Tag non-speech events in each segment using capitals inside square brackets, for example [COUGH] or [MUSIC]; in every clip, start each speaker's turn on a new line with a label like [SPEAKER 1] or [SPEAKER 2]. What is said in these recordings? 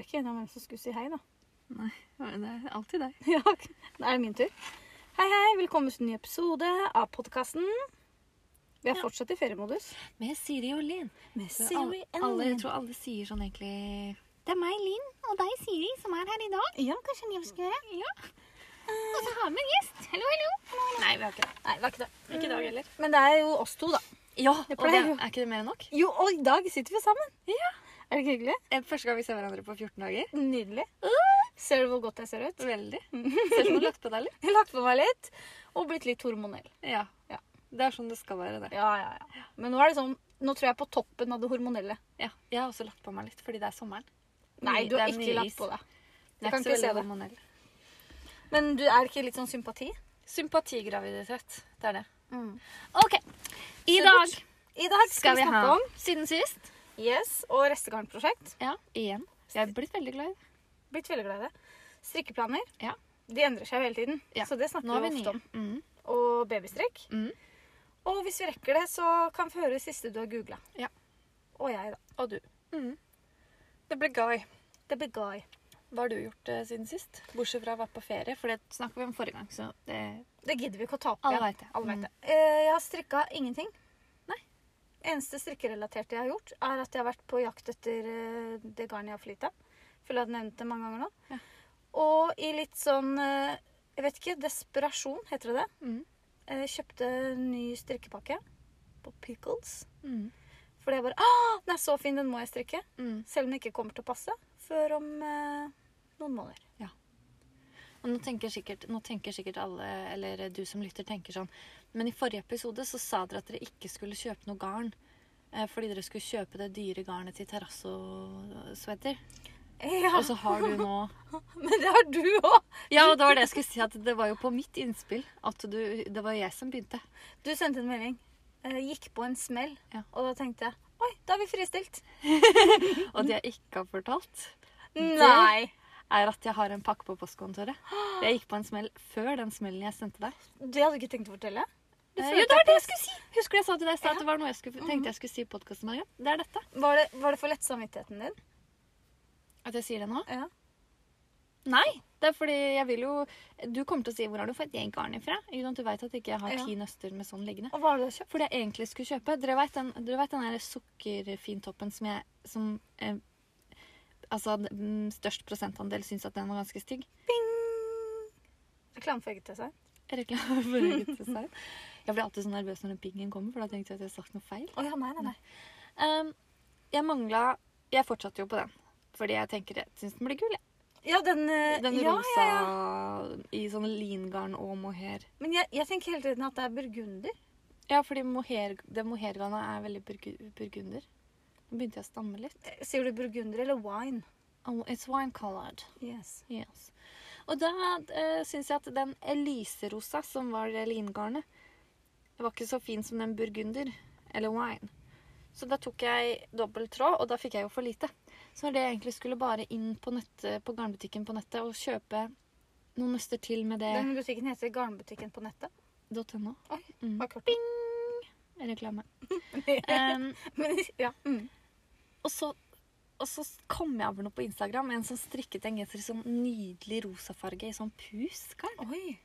[SPEAKER 1] ikke enige om hvem som skulle si hei, da. [LAUGHS]
[SPEAKER 2] Men det er alltid deg.
[SPEAKER 1] Ja, da er det min tur. Hei, hei. Velkommen til en ny episode av podkasten. Vi er
[SPEAKER 2] Ja.
[SPEAKER 1] fortsatt i feriemodus.
[SPEAKER 2] Med Siri og Linn.
[SPEAKER 1] Med
[SPEAKER 2] For
[SPEAKER 1] Siri
[SPEAKER 2] alle, alle, jeg
[SPEAKER 1] Ellen.
[SPEAKER 2] tror alle sier sånn egentlig Det er meg, Linn, og deg, Siri, som er her i dag.
[SPEAKER 1] Ja, kanskje en jobb skal gjøre.
[SPEAKER 2] Ja. Og så har vi en gjest. Hallo, hallo. Nei, vi har ikke det.
[SPEAKER 1] Nei, det var ikke det. Mm.
[SPEAKER 2] Ikke i dag heller.
[SPEAKER 1] Men det er jo oss to, da.
[SPEAKER 2] Ja,
[SPEAKER 1] Det
[SPEAKER 2] og det,
[SPEAKER 1] pleier jo.
[SPEAKER 2] er ikke det mer enn nok?
[SPEAKER 1] Jo, og i dag sitter vi sammen.
[SPEAKER 2] Ja.
[SPEAKER 1] Er det ikke hyggelig?
[SPEAKER 2] Eh, Første gang vi ser hverandre på 14 dager.
[SPEAKER 1] Nydelig.
[SPEAKER 2] Uh.
[SPEAKER 1] Ser du hvor godt jeg ser ut? [LAUGHS]
[SPEAKER 2] Veldig. Ser ut som du har lagt på deg litt.
[SPEAKER 1] Jeg har lagt på meg litt og blitt litt hormonell.
[SPEAKER 2] [LAUGHS] Ja.
[SPEAKER 1] Ja.
[SPEAKER 2] Det er sånn det skal være, det.
[SPEAKER 1] Ja, ja, ja. Men nå er det sånn Nå tror jeg på toppen av det hormonelle.
[SPEAKER 2] Ja. Jeg har også lagt på meg litt, fordi det er sommeren.
[SPEAKER 1] Nei,
[SPEAKER 2] Mye-
[SPEAKER 1] du har
[SPEAKER 2] det er
[SPEAKER 1] ikke
[SPEAKER 2] mye
[SPEAKER 1] lagt
[SPEAKER 2] is.
[SPEAKER 1] på deg.
[SPEAKER 2] Det er
[SPEAKER 1] kan
[SPEAKER 2] ikke
[SPEAKER 1] ikke se
[SPEAKER 2] så
[SPEAKER 1] det.
[SPEAKER 2] veldig hormonell.
[SPEAKER 1] Men du er ikke litt sånn sympati?
[SPEAKER 2] Sympatigraviditet. Det er det.
[SPEAKER 1] Mm.
[SPEAKER 2] OK. I dag
[SPEAKER 1] Supert. I dag skal,
[SPEAKER 2] skal
[SPEAKER 1] vi
[SPEAKER 2] vi
[SPEAKER 1] snakke
[SPEAKER 2] ha
[SPEAKER 1] om
[SPEAKER 2] Siden sist.
[SPEAKER 1] Yes og restegarnprosjekt.
[SPEAKER 2] Ja, igjen. Jeg er blitt veldig glad i det.
[SPEAKER 1] Blitt veldig glad i det. Strikkeplaner.
[SPEAKER 2] Ja.
[SPEAKER 1] De endrer seg jo hele tiden,
[SPEAKER 2] Ja.
[SPEAKER 1] så det
[SPEAKER 2] Nå
[SPEAKER 1] snakker
[SPEAKER 2] har
[SPEAKER 1] vi
[SPEAKER 2] vi
[SPEAKER 1] ofte
[SPEAKER 2] nye.
[SPEAKER 1] om.
[SPEAKER 2] Mm.
[SPEAKER 1] Og babystrikk.
[SPEAKER 2] Mm.
[SPEAKER 1] Og hvis vi rekker det, så kan vi høre det siste du har googla.
[SPEAKER 2] Ja.
[SPEAKER 1] Og jeg, da.
[SPEAKER 2] Og du. Mm. Det ble gøy.
[SPEAKER 1] Det blir guy.
[SPEAKER 2] Hva har du gjort eh, siden sist? Bortsett fra å være på ferie, for det snakket vi om forrige gang. Så det
[SPEAKER 1] Det gidder vi ikke å ta opp
[SPEAKER 2] Alle
[SPEAKER 1] igjen.
[SPEAKER 2] vet det.
[SPEAKER 1] Alle
[SPEAKER 2] Mm.
[SPEAKER 1] vet det. Eh, Jeg har strikka ingenting.
[SPEAKER 2] Nei.
[SPEAKER 1] Eneste strikkerelaterte jeg har gjort, er at jeg har vært på jakt etter eh, det garnet jeg har for lite av. Føler jeg har nevnt det mange ganger nå.
[SPEAKER 2] Ja.
[SPEAKER 1] Og i litt sånn eh, Jeg vet ikke. Desperasjon, heter det det?
[SPEAKER 2] Mm.
[SPEAKER 1] Eh, kjøpte ny strikkepakke på Pickles.
[SPEAKER 2] Mm.
[SPEAKER 1] Fordi jeg bare Åh, den er så fin, den må jeg strikke.
[SPEAKER 2] Mm.
[SPEAKER 1] Selv om den ikke kommer til å passe før om eh, noen måneder. [LAUGHS]
[SPEAKER 2] Og nå tenker, sikkert, nå tenker sikkert alle, eller du som lytter, tenker sånn Men i forrige episode så sa dere at dere ikke skulle kjøpe noe garn. eh, Fordi dere skulle kjøpe det dyre garnet til terrasso-sweater.
[SPEAKER 1] Ja,
[SPEAKER 2] Og så har du nå
[SPEAKER 1] men det har du òg!
[SPEAKER 2] [LAUGHS] Ja, og det var det jeg skulle si, at det var jo på mitt innspill at du Det var jeg som begynte.
[SPEAKER 1] Du sendte en melding. eh, gikk på en smell,
[SPEAKER 2] Ja.
[SPEAKER 1] og da tenkte jeg Oi, da er vi fristilt!
[SPEAKER 2] Og det jeg ikke har fortalt,
[SPEAKER 1] Nei!
[SPEAKER 2] er at jeg har en pakke på postkontoret. Jeg gikk på en smell før den smellen jeg sendte deg.
[SPEAKER 1] Det hadde du ikke tenkt å fortelle? Du
[SPEAKER 2] Eh,
[SPEAKER 1] følte
[SPEAKER 2] jo, det var det jeg
[SPEAKER 1] at
[SPEAKER 2] skulle si! Husker du jeg sa til deg i stad at det var noe jeg skulle, tenkte jeg skulle si i podkasten? Det er dette.
[SPEAKER 1] Var det, var det for lett samvittigheten din?
[SPEAKER 2] At jeg sier det nå?
[SPEAKER 1] Ja.
[SPEAKER 2] Nei! Det er fordi jeg vil jo Du kommer til å si 'Hvor har du fått det garnet fra?' Ikke sant? Du veit at ikke jeg har
[SPEAKER 1] Ja.
[SPEAKER 2] ti nøster med sånn liggende.
[SPEAKER 1] Og hva har du kjøpt?
[SPEAKER 2] For det jeg egentlig skulle kjøpe Dere vet den, dere vet den der sukkerfintoppen som jeg som, eh, Altså mm, størst prosentandel syns at den var ganske stygg?
[SPEAKER 1] Reklame for eget design.
[SPEAKER 2] Reklame for eget design. Jeg blir alltid så nervøs når den pingen kommer, for da tenkte jeg at jeg har sagt noe feil.
[SPEAKER 1] Å ja, nei, nei, nei.
[SPEAKER 2] Ehm, jeg mangla Jeg fortsatte jo på den. Fordi jeg tenker jeg syns den blir kul. jeg.
[SPEAKER 1] Ja, den, eh,
[SPEAKER 2] Den
[SPEAKER 1] ja,
[SPEAKER 2] rosa
[SPEAKER 1] ja, ja.
[SPEAKER 2] i sånn lingarn og mohair.
[SPEAKER 1] Men jeg, jeg tenker hele tiden at det er burgunder.
[SPEAKER 2] Ja, fordi mohair, det mohairgarnet er veldig burgu- burgunder. Nå begynte jeg å stamme litt.
[SPEAKER 1] Eh, Sier du burgunder eller wine?
[SPEAKER 2] Oh, it's wine colored.
[SPEAKER 1] Yes.
[SPEAKER 2] Yes. Og da uh, syns jeg at den lyserosa, som var det lingarnet, var ikke så fin som den burgunder eller wine. Så da tok jeg dobbel tråd, og da fikk jeg jo for lite. Så var det jeg egentlig skulle bare inn på, nettet, på garnbutikken på nettet og kjøpe noen nøster til med det
[SPEAKER 1] Den butikken heter Garnbutikken på nettet.
[SPEAKER 2] .no.
[SPEAKER 1] Oi,
[SPEAKER 2] Mm.
[SPEAKER 1] Bare kort. Bing!
[SPEAKER 2] Reklame.
[SPEAKER 1] [LAUGHS]
[SPEAKER 2] Em,
[SPEAKER 1] ja. mm.
[SPEAKER 2] og, så, og så kom jeg over noe på Instagram. En som strikket en genser i sånn nydelig rosafarge i sånn pusgarn.
[SPEAKER 1] Oi.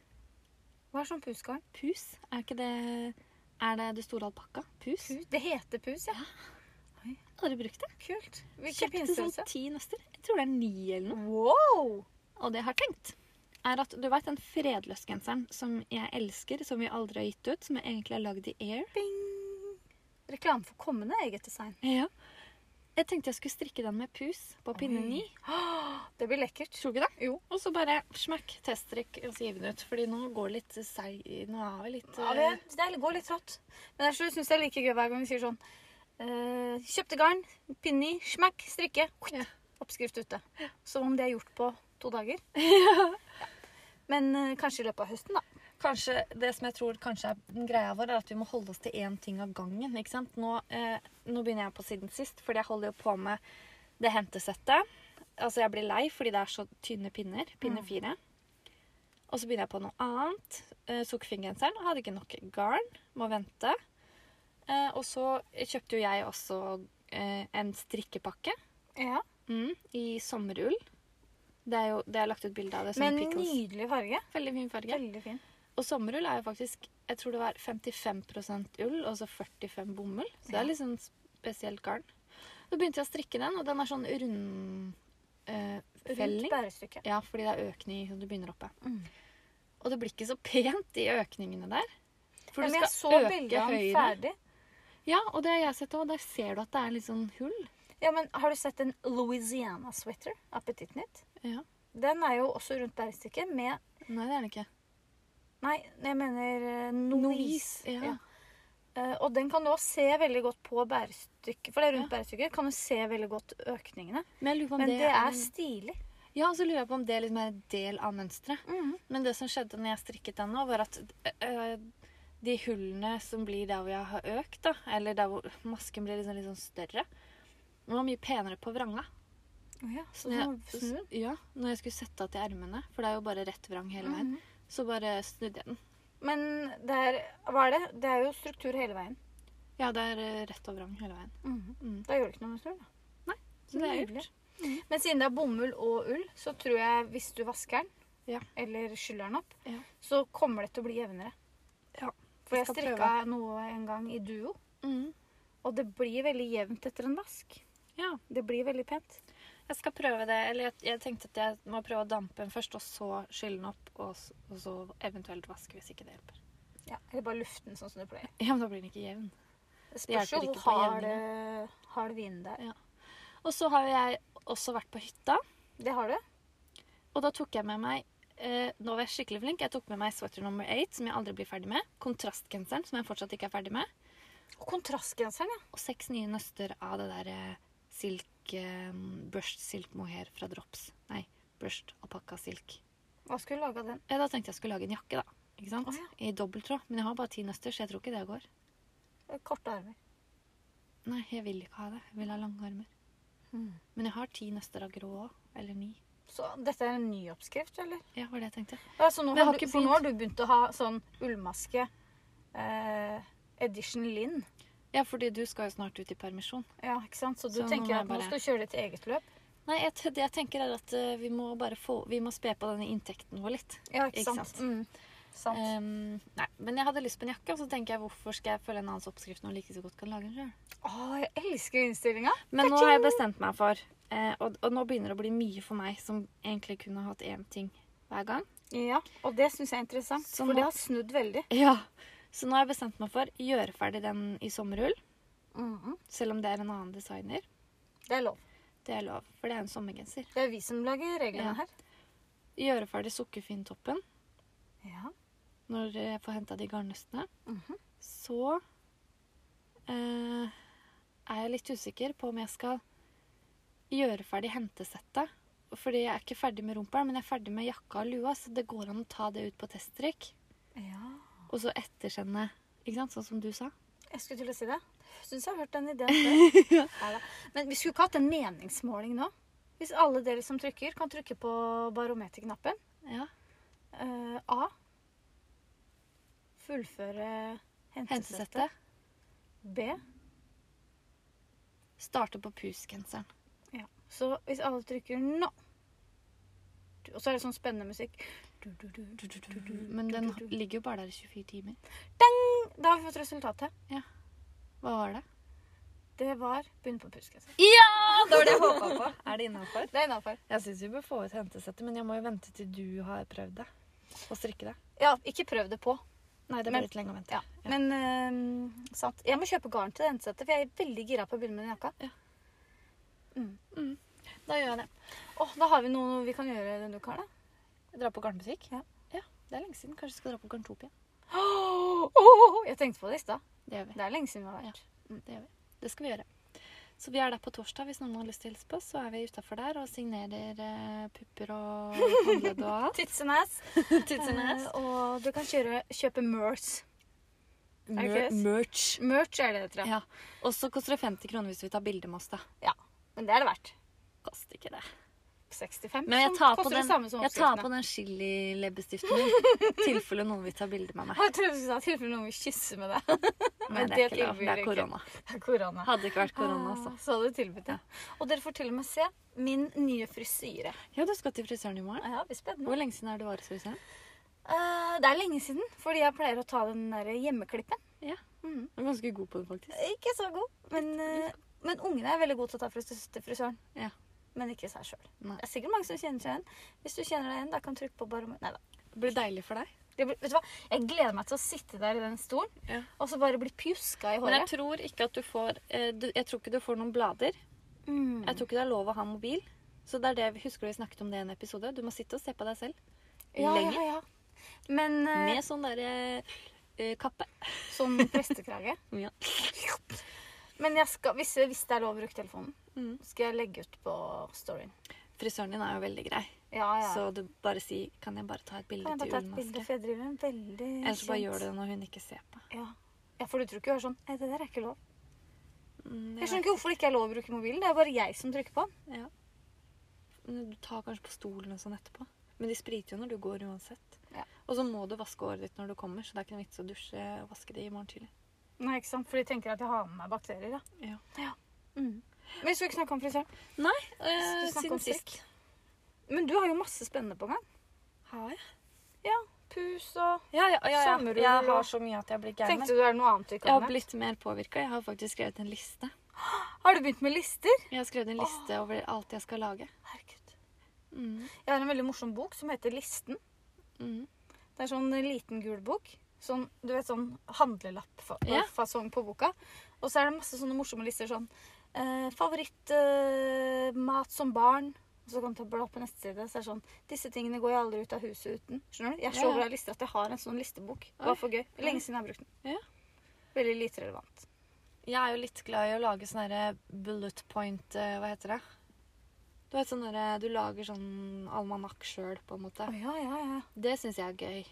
[SPEAKER 1] Hva er sånn pusgarn?
[SPEAKER 2] Pus? Er ikke det Er det det store alpakka? Pus?
[SPEAKER 1] Pus? Det heter pus, ja.
[SPEAKER 2] Aldri brukt det.
[SPEAKER 1] Kult. Hvilken
[SPEAKER 2] Kjøpte sånn
[SPEAKER 1] pinstørrelse?
[SPEAKER 2] ti nøster. Jeg tror det er ni eller noe.
[SPEAKER 1] Wow!
[SPEAKER 2] Og det jeg har tenkt, er at du veit den fredløsgenseren som jeg elsker, som vi aldri har gitt ut, som jeg egentlig har lagd i Air?
[SPEAKER 1] Bing! Reklame for kommende eget design.
[SPEAKER 2] Ja. Jeg tenkte jeg skulle strikke den med pus på pinne
[SPEAKER 1] Oi.
[SPEAKER 2] ni.
[SPEAKER 1] Åh, [GASPS] Det blir lekkert.
[SPEAKER 2] Tror du ikke det?
[SPEAKER 1] Jo.
[SPEAKER 2] Og så bare smakk, teststrikk og så gi den ut. Fordi nå går det litt seig Nå er vi litt eh,
[SPEAKER 1] Ja, det, det er- går litt trått. Men jeg syns det er like gøy hver gang vi sier sånn eh, Kjøpte garn, pinne i, smakk, strikke.
[SPEAKER 2] Ja.
[SPEAKER 1] Oppskrift ute. Som om det er gjort på to
[SPEAKER 2] [LAUGHS]
[SPEAKER 1] dager. Ja. Men eh, kanskje i løpet av høsten, da.
[SPEAKER 2] kanskje, det som jeg tror kanskje er den greia vår, er at vi må holde oss til én ting av gangen. ikke sant? Nå, eh, nå begynner jeg på siden sist, fordi jeg holder jo på med det hentesettet. Altså, jeg blir lei fordi det er så tynne pinner. Pinne
[SPEAKER 1] Mm.
[SPEAKER 2] fire. Og så begynner jeg på noe annet. Eh, Sukkerfingergenseren hadde ikke nok garn. Må vente. Eh, og så kjøpte jo jeg også eh, en strikkepakke
[SPEAKER 1] Ja.
[SPEAKER 2] Mm, I sommerull. Det er jo det er lagt ut bilde av det som
[SPEAKER 1] Men
[SPEAKER 2] pickles.
[SPEAKER 1] nydelig farge.
[SPEAKER 2] Veldig fin farge.
[SPEAKER 1] Veldig fin.
[SPEAKER 2] Og sommerull er jo faktisk jeg tror det var 55 ull og så 45 bomull. Så det
[SPEAKER 1] Ja.
[SPEAKER 2] er litt sånn spesielt garn. Så begynte jeg å strikke den, og den er sånn rundfelling.
[SPEAKER 1] Rundt bærestykket.
[SPEAKER 2] ja, fordi det er økning, så du begynner oppe.
[SPEAKER 1] Mm.
[SPEAKER 2] Og det blir ikke så pent, de økningene der. For
[SPEAKER 1] Ja,
[SPEAKER 2] du
[SPEAKER 1] men jeg så
[SPEAKER 2] skal
[SPEAKER 1] bildet
[SPEAKER 2] øke
[SPEAKER 1] av den
[SPEAKER 2] høyre.
[SPEAKER 1] ferdig.
[SPEAKER 2] Ja, og det har jeg sett òg. Der ser du at det er litt sånn hull.
[SPEAKER 1] Ja, men Har du sett en Louisiana sweater? Appetitten Knit?
[SPEAKER 2] Ja.
[SPEAKER 1] Den er jo også rundt bærestykket med
[SPEAKER 2] Nei, det er det ikke.
[SPEAKER 1] Nei, jeg mener eh, novis.
[SPEAKER 2] Novis, ja.
[SPEAKER 1] Eh, Og den kan du også se veldig godt på bærestykket. For det er rundt
[SPEAKER 2] Ja.
[SPEAKER 1] bærestykket. Kan du se veldig godt økningene.
[SPEAKER 2] Men jeg lurer på om
[SPEAKER 1] Men
[SPEAKER 2] det,
[SPEAKER 1] det
[SPEAKER 2] er,
[SPEAKER 1] er stilig.
[SPEAKER 2] Ja, og så lurer jeg på om det liksom er en del av mønsteret. Men det som skjedde når jeg strikket den nå, var at øh, de hullene som blir der hvor jeg har økt, da, eller der hvor masken blir liksom litt sånn større, den var mye penere på vranga.
[SPEAKER 1] Å ja, så sånn-
[SPEAKER 2] Når
[SPEAKER 1] du
[SPEAKER 2] jeg-
[SPEAKER 1] må snu den.
[SPEAKER 2] Ja, når jeg skulle sette av til ermene, for det er jo bare rett vrang hele veien,
[SPEAKER 1] Mhm.
[SPEAKER 2] så bare snudde jeg den.
[SPEAKER 1] Men det er, hva er det? Det er jo struktur hele veien.
[SPEAKER 2] Ja, det er øh, rett og vrang hele veien. Mm.
[SPEAKER 1] Da gjør det ikke noe med snurr. da.
[SPEAKER 2] Så det er
[SPEAKER 1] Nydelig.
[SPEAKER 2] gjort.
[SPEAKER 1] Men siden det er bomull og ull, så tror jeg hvis du vasker den,
[SPEAKER 2] Ja.
[SPEAKER 1] eller skyller den opp,
[SPEAKER 2] Ja.
[SPEAKER 1] så kommer det til å bli jevnere.
[SPEAKER 2] Ja,
[SPEAKER 1] For jeg
[SPEAKER 2] skal
[SPEAKER 1] strikka noe en gang i duo,
[SPEAKER 2] Mhm.
[SPEAKER 1] og det blir veldig jevnt etter en vask.
[SPEAKER 2] Ja.
[SPEAKER 1] Det blir veldig pent.
[SPEAKER 2] Jeg skal prøve det. Eller jeg, jeg tenkte at jeg må prøve å dampe den først, og så skylle den opp, og, s- og så eventuelt vaske hvis ikke det hjelper.
[SPEAKER 1] Ja, eller bare luften sånn som du pleier.
[SPEAKER 2] Ja, men da blir den ikke jevn.
[SPEAKER 1] Det spørs jo
[SPEAKER 2] hjelper
[SPEAKER 1] hvor
[SPEAKER 2] ikke på
[SPEAKER 1] hard, eh, hard vinen det er.
[SPEAKER 2] Og så har jo jeg også vært på hytta,
[SPEAKER 1] Det har du?
[SPEAKER 2] og da tok jeg med meg eh, Nå var jeg skikkelig flink. Jeg tok med meg sweater number eight, som jeg aldri blir ferdig med. Kontrastgenseren, som jeg fortsatt ikke er ferdig med.
[SPEAKER 1] Og kontrastgenseren, ja.
[SPEAKER 2] Og seks nye nøster av det der eh, silk eh, Brushed silk mohair fra Drops. Nei, brushed alpakka silk.
[SPEAKER 1] Hva skulle du lage av den?
[SPEAKER 2] Ja, da tenkte jeg skulle lage en jakke, da. Ikke sant?
[SPEAKER 1] Å, ja.
[SPEAKER 2] I dobbelttråd. Men jeg har bare ti nøster, så jeg tror ikke det går.
[SPEAKER 1] Korte armer.
[SPEAKER 2] Nei, jeg vil ikke ha det. Jeg vil ha lange armer.
[SPEAKER 1] Hmm.
[SPEAKER 2] Men jeg har ti nøster av grå òg. Eller ni.
[SPEAKER 1] Så dette er en ny oppskrift, eller?
[SPEAKER 2] Ja, var det jeg tenkte.
[SPEAKER 1] Ja, så nå
[SPEAKER 2] Men jeg
[SPEAKER 1] har
[SPEAKER 2] har
[SPEAKER 1] du,
[SPEAKER 2] ikke
[SPEAKER 1] for nå
[SPEAKER 2] begynt.
[SPEAKER 1] har du begynt å ha sånn ullmaske eh, edition Linn.
[SPEAKER 2] Ja, fordi du skal jo snart ut i permisjon.
[SPEAKER 1] Ja, ikke sant? Så du
[SPEAKER 2] Så nå må
[SPEAKER 1] tenker
[SPEAKER 2] jeg
[SPEAKER 1] at nå
[SPEAKER 2] bare-
[SPEAKER 1] skal du kjøre ditt eget løp.
[SPEAKER 2] Nei, jeg, t- det jeg tenker er at eh, vi må bare få Vi må spe på denne inntekten vår litt.
[SPEAKER 1] Ja,
[SPEAKER 2] Ikke
[SPEAKER 1] ikke sant?
[SPEAKER 2] sant?
[SPEAKER 1] Mm. sant.
[SPEAKER 2] Ehm, nei, men jeg hadde lyst på en jakke, og så tenker jeg hvorfor skal jeg følge en annens oppskrift når jeg like så godt kan lage den sjøl.
[SPEAKER 1] Å, jeg elsker innstillinga!
[SPEAKER 2] Men nå har jeg bestemt meg for eh, og, og nå begynner det å bli mye for meg som egentlig kunne hatt én ting hver gang.
[SPEAKER 1] Ja, og det syns jeg er interessant,
[SPEAKER 2] Så nå-
[SPEAKER 1] for det har snudd veldig.
[SPEAKER 2] [LAUGHS] Ja. Så nå har jeg bestemt meg for gjøre ferdig den i sommerull,
[SPEAKER 1] Mhm.
[SPEAKER 2] selv om det er en annen designer.
[SPEAKER 1] Det er lov.
[SPEAKER 2] Det er lov, for det er en sommergenser.
[SPEAKER 1] Det er vi som lager reglene
[SPEAKER 2] Ja.
[SPEAKER 1] her.
[SPEAKER 2] Gjøre ferdig sukkerfinntoppen
[SPEAKER 1] Ja.
[SPEAKER 2] når jeg får henta de garnnøstene.
[SPEAKER 1] Mhm.
[SPEAKER 2] Så eh, er jeg litt usikker på om jeg skal gjøre ferdig hentesettet. Fordi jeg er ikke ferdig med rumpelen, men jeg er ferdig med jakka og lua, så det går an å ta det ut på teststrikk.
[SPEAKER 1] ja.
[SPEAKER 2] Og så ettersende, ikke sant, sånn som du sa.
[SPEAKER 1] Jeg skulle til å si det. Syns jeg har hørt den
[SPEAKER 2] [LAUGHS]
[SPEAKER 1] ideen før. Neida. Men vi skulle ikke hatt en meningsmåling nå. Hvis alle dere som trykker, kan trykke på barometerknappen.
[SPEAKER 2] Ja,
[SPEAKER 1] Eh, A. Fullføre hentesettet.
[SPEAKER 2] hentesettet.
[SPEAKER 1] B.
[SPEAKER 2] Starte på pusgenseren.
[SPEAKER 1] Ja. Så hvis alle trykker nå Du- Og så er det sånn spennende musikk. Du, du, du, du, du, du, du,
[SPEAKER 2] Men den
[SPEAKER 1] du, du.
[SPEAKER 2] ligger jo bare der i 24 timer.
[SPEAKER 1] Da har vi fått resultatet.
[SPEAKER 2] Hva var det?
[SPEAKER 1] Det var Begynn på puskesen.
[SPEAKER 2] Ja, det var det jeg håpa på. Er det innafor?
[SPEAKER 1] Det er innafor.
[SPEAKER 2] Jeg syns vi bør få ut hentesette, men jeg må jo vente til du har prøvd det. Og strikke det.
[SPEAKER 1] Ja, ikke prøv det på.
[SPEAKER 2] Nei, det
[SPEAKER 1] Men-
[SPEAKER 2] blir litt lenge å vente.
[SPEAKER 1] Ja. Men eh, sant. Jeg må kjøpe garn til det hentesettet, for jeg er veldig gira på å begynne med den jakka.
[SPEAKER 2] Da gjør jeg det.
[SPEAKER 1] Åh, da har vi noe vi kan gjøre denne uka, da.
[SPEAKER 2] Jeg drar på garnbutikk.
[SPEAKER 1] Ja.
[SPEAKER 2] Det er lenge siden. Kanskje vi skal dra på Garntopia.
[SPEAKER 1] Åh, åh, åh, jeg tenkte på det i stad.
[SPEAKER 2] Det gjør vi.
[SPEAKER 1] Det er lenge siden vi har vært.
[SPEAKER 2] Det, gjør vi. det skal vi gjøre. Så vi er der på torsdag hvis noen har lyst til å hilse på. oss, Så er vi utafor der og signerer eh, pupper og håndledd og [LAUGHS] alt.
[SPEAKER 1] Tits and ass.
[SPEAKER 2] Tits
[SPEAKER 1] Eh, og du kan kjøre, kjøpe merch. er det ikke det?
[SPEAKER 2] merch.
[SPEAKER 1] Merch er det det heter, ja.
[SPEAKER 2] Ja. Og så koster det 50 kroner hvis vi tar bilde med oss, da.
[SPEAKER 1] Men det er det verdt.
[SPEAKER 2] Koster ikke det.
[SPEAKER 1] 665.
[SPEAKER 2] Men jeg
[SPEAKER 1] som
[SPEAKER 2] tar på
[SPEAKER 1] koster det
[SPEAKER 2] den,
[SPEAKER 1] samme som
[SPEAKER 2] jeg tar
[SPEAKER 1] oppskriftene.
[SPEAKER 2] på den chilileppestiften [LAUGHS] min. I tilfelle noen vil ta bilde med meg.
[SPEAKER 1] Jeg trodde du sa tilfelle noen vil kysse med deg.
[SPEAKER 2] Nei,
[SPEAKER 1] Men
[SPEAKER 2] det
[SPEAKER 1] det
[SPEAKER 2] er ikke
[SPEAKER 1] tilbyr
[SPEAKER 2] lov. Det er
[SPEAKER 1] ikke.
[SPEAKER 2] [LAUGHS] korona.
[SPEAKER 1] Det er korona.
[SPEAKER 2] Hadde ikke vært korona, altså.
[SPEAKER 1] Ah, Så hadde du tilbudt det. Og dere får til og med se min nye frisyre.
[SPEAKER 2] Ja, du skal til frisøren i morgen.
[SPEAKER 1] Ja, det blir spennende.
[SPEAKER 2] Hvor lenge siden er det du var hos frisøren?
[SPEAKER 1] Eh, det er lenge siden, fordi jeg pleier å ta den der hjemmeklippen.
[SPEAKER 2] Ja.
[SPEAKER 1] Mm.
[SPEAKER 2] Du er ganske god på det, faktisk.
[SPEAKER 1] Ikke så god, men, eh, men ungene er veldig gode til å ta fris- til frisøren.
[SPEAKER 2] Ja.
[SPEAKER 1] Men ikke seg sjøl.
[SPEAKER 2] Nei.
[SPEAKER 1] Det er sikkert mange som kjenner seg igjen. Hvis du kjenner deg igjen, da kan du trykke på bare Nei da.
[SPEAKER 2] Det blir deilig for deg.
[SPEAKER 1] Det blir, vet du hva? Jeg gleder meg til å sitte der i den stolen
[SPEAKER 2] Ja.
[SPEAKER 1] og så bare bli pjuska i
[SPEAKER 2] Men jeg
[SPEAKER 1] håret.
[SPEAKER 2] tror ikke at du får eh, du, Jeg tror ikke du får noen blader.
[SPEAKER 1] Mm.
[SPEAKER 2] Jeg tror ikke det er lov å ha mobil. Så det er det vi husker vi snakket om det i en episode. Du må sitte og se på deg selv.
[SPEAKER 1] ja,
[SPEAKER 2] lenge.
[SPEAKER 1] Ja, ja. Men eh,
[SPEAKER 2] Med sånn derre eh, kappe.
[SPEAKER 1] sånn prestekrage
[SPEAKER 2] Ja.
[SPEAKER 1] Men jeg skal, hvis, hvis det er lov å bruke telefonen,
[SPEAKER 2] Mm.
[SPEAKER 1] skal jeg legge ut på storyen.
[SPEAKER 2] Frisøren din er jo veldig grei.
[SPEAKER 1] Ja, ja.
[SPEAKER 2] Så du bare si 'Kan jeg bare ta et bilde
[SPEAKER 1] kan jeg
[SPEAKER 2] til
[SPEAKER 1] bare ta et bilde,
[SPEAKER 2] julemasken?'
[SPEAKER 1] for jeg driver en veldig
[SPEAKER 2] Ellers så bare
[SPEAKER 1] kjent-
[SPEAKER 2] gjør du det når hun ikke ser på.
[SPEAKER 1] Ja. ja, for du tror ikke hun er sånn Nei, det der er ikke lov.
[SPEAKER 2] Mm,
[SPEAKER 1] Jeg
[SPEAKER 2] jeg
[SPEAKER 1] skjønner ikke hvorfor det ikke er lov å bruke mobilen. Det er bare jeg som trykker på den.
[SPEAKER 2] vet. Ja. Men Du tar kanskje på stolen og sånn etterpå. Men de spriter jo når du går uansett.
[SPEAKER 1] Ja.
[SPEAKER 2] Og så må du vaske håret ditt når du kommer, så det er ikke noe vits å dusje og vaske det i morgen tidlig.
[SPEAKER 1] Nei, ikke sant? For de tenker at jeg har med meg bakterier. Da.
[SPEAKER 2] Ja.
[SPEAKER 1] Mm. Men vi skal ikke snakke om frisøren.
[SPEAKER 2] Eh,
[SPEAKER 1] Vi snakker
[SPEAKER 2] siden
[SPEAKER 1] om strikk.
[SPEAKER 2] sist.
[SPEAKER 1] Men du har jo masse spennende på gang.
[SPEAKER 2] Har jeg?
[SPEAKER 1] Pus og
[SPEAKER 2] Ja, ja, ja, ja.
[SPEAKER 1] Sommerrull
[SPEAKER 2] Jeg
[SPEAKER 1] og-
[SPEAKER 2] har så mye at jeg blir gæren.
[SPEAKER 1] Tenkte du det er noe annet du ikke
[SPEAKER 2] Jeg
[SPEAKER 1] har med?
[SPEAKER 2] har blitt mer påvirka. Jeg har faktisk skrevet en liste.
[SPEAKER 1] Har du begynt med lister?
[SPEAKER 2] Jeg har skrevet en liste over alt jeg skal lage.
[SPEAKER 1] Herregud.
[SPEAKER 2] Mm.
[SPEAKER 1] Jeg har en veldig morsom bok som heter Listen.
[SPEAKER 2] Mm.
[SPEAKER 1] Det er sånn liten gul bok. Sånn, du vet, sånn
[SPEAKER 2] Ja.
[SPEAKER 1] handlelappfasong på boka. Og så er det masse sånne morsomme lister sånn eh, Favorittmat eh, mat som barn. Og så kan du ta bla på neste side. Så er det sånn Disse tingene går jeg aldri ut av huset uten. Skjønner du? Jeg er så
[SPEAKER 2] Ja, ja.
[SPEAKER 1] glad i lister at jeg har en sånn listebok. Det
[SPEAKER 2] Oi.
[SPEAKER 1] var for gøy. Lenge siden jeg har brukt den.
[SPEAKER 2] Ja.
[SPEAKER 1] Veldig lite relevant.
[SPEAKER 2] Jeg er jo litt glad i å lage sånne her bullet point eh, Hva heter det? Du vet sånn derre- Du lager sånn almanakk sjøl, på en måte.
[SPEAKER 1] Å, ja, ja, ja.
[SPEAKER 2] Det syns jeg er gøy.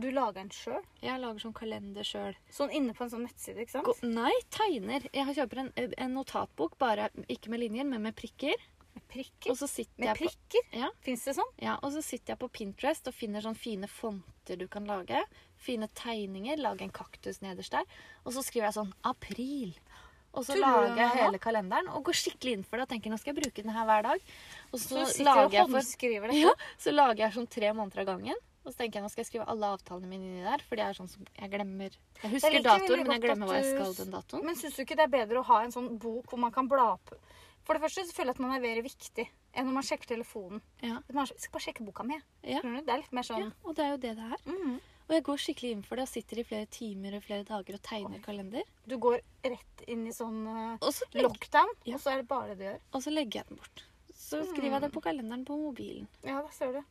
[SPEAKER 1] Du lager en sjøl?
[SPEAKER 2] Jeg lager sånn kalender sjøl.
[SPEAKER 1] Sånn inne på en sånn nettside, ikke sant?
[SPEAKER 2] Nei, tegner. Jeg har- kjøper en, en notatbok, bare ikke med linjer, men med prikker.
[SPEAKER 1] Med prikker?
[SPEAKER 2] Og så sitter
[SPEAKER 1] Med
[SPEAKER 2] jeg på
[SPEAKER 1] prikker?
[SPEAKER 2] Ja.
[SPEAKER 1] Fins det sånn?
[SPEAKER 2] Ja, og så sitter jeg på Pinterest og finner sånne fine fonter du kan lage. Fine tegninger. Lage en kaktus nederst der. Og så skriver jeg sånn 'april'. Og så
[SPEAKER 1] Tuller du
[SPEAKER 2] lager jeg
[SPEAKER 1] med meg
[SPEAKER 2] hele kalenderen og går skikkelig inn for det. Og tenker nå skal jeg bruke den her hver dag. Og
[SPEAKER 1] Så
[SPEAKER 2] så,
[SPEAKER 1] du sitter
[SPEAKER 2] lager,
[SPEAKER 1] og
[SPEAKER 2] jeg for,
[SPEAKER 1] håndskriver dette?
[SPEAKER 2] [LAUGHS] ja, så lager jeg sånn tre måneder av gangen. Og så tenker jeg nå skal jeg skrive alle avtalene mine inni der. For det er sånn som jeg glemmer Jeg husker
[SPEAKER 1] liker
[SPEAKER 2] datoen,
[SPEAKER 1] veldig
[SPEAKER 2] men jeg
[SPEAKER 1] godt
[SPEAKER 2] glemmer
[SPEAKER 1] at
[SPEAKER 2] hva jeg
[SPEAKER 1] du
[SPEAKER 2] skal
[SPEAKER 1] s-
[SPEAKER 2] den datoen.
[SPEAKER 1] Men syns du ikke det er bedre å ha en sånn bok hvor man kan bla opp For det første så føler jeg at man er mer viktig enn når man sjekker telefonen.
[SPEAKER 2] Ja.
[SPEAKER 1] Man er sånn, skal bare sjekke boka mi. jeg».
[SPEAKER 2] Ja.
[SPEAKER 1] Skjønner du? Det er litt mer
[SPEAKER 2] ja,
[SPEAKER 1] sånn
[SPEAKER 2] Og det er jo det det er.
[SPEAKER 1] mm.
[SPEAKER 2] Og jeg går skikkelig inn for det og sitter i flere timer og flere dager og tegner
[SPEAKER 1] Oi.
[SPEAKER 2] kalender.
[SPEAKER 1] Du går rett inn i sånn eh,
[SPEAKER 2] Og så legger
[SPEAKER 1] lockdown,
[SPEAKER 2] Ja.
[SPEAKER 1] og så er det bare det du gjør.
[SPEAKER 2] Og så legger jeg den bort. Så skriver jeg det på kalenderen på mobilen.
[SPEAKER 1] Ja, der ser du.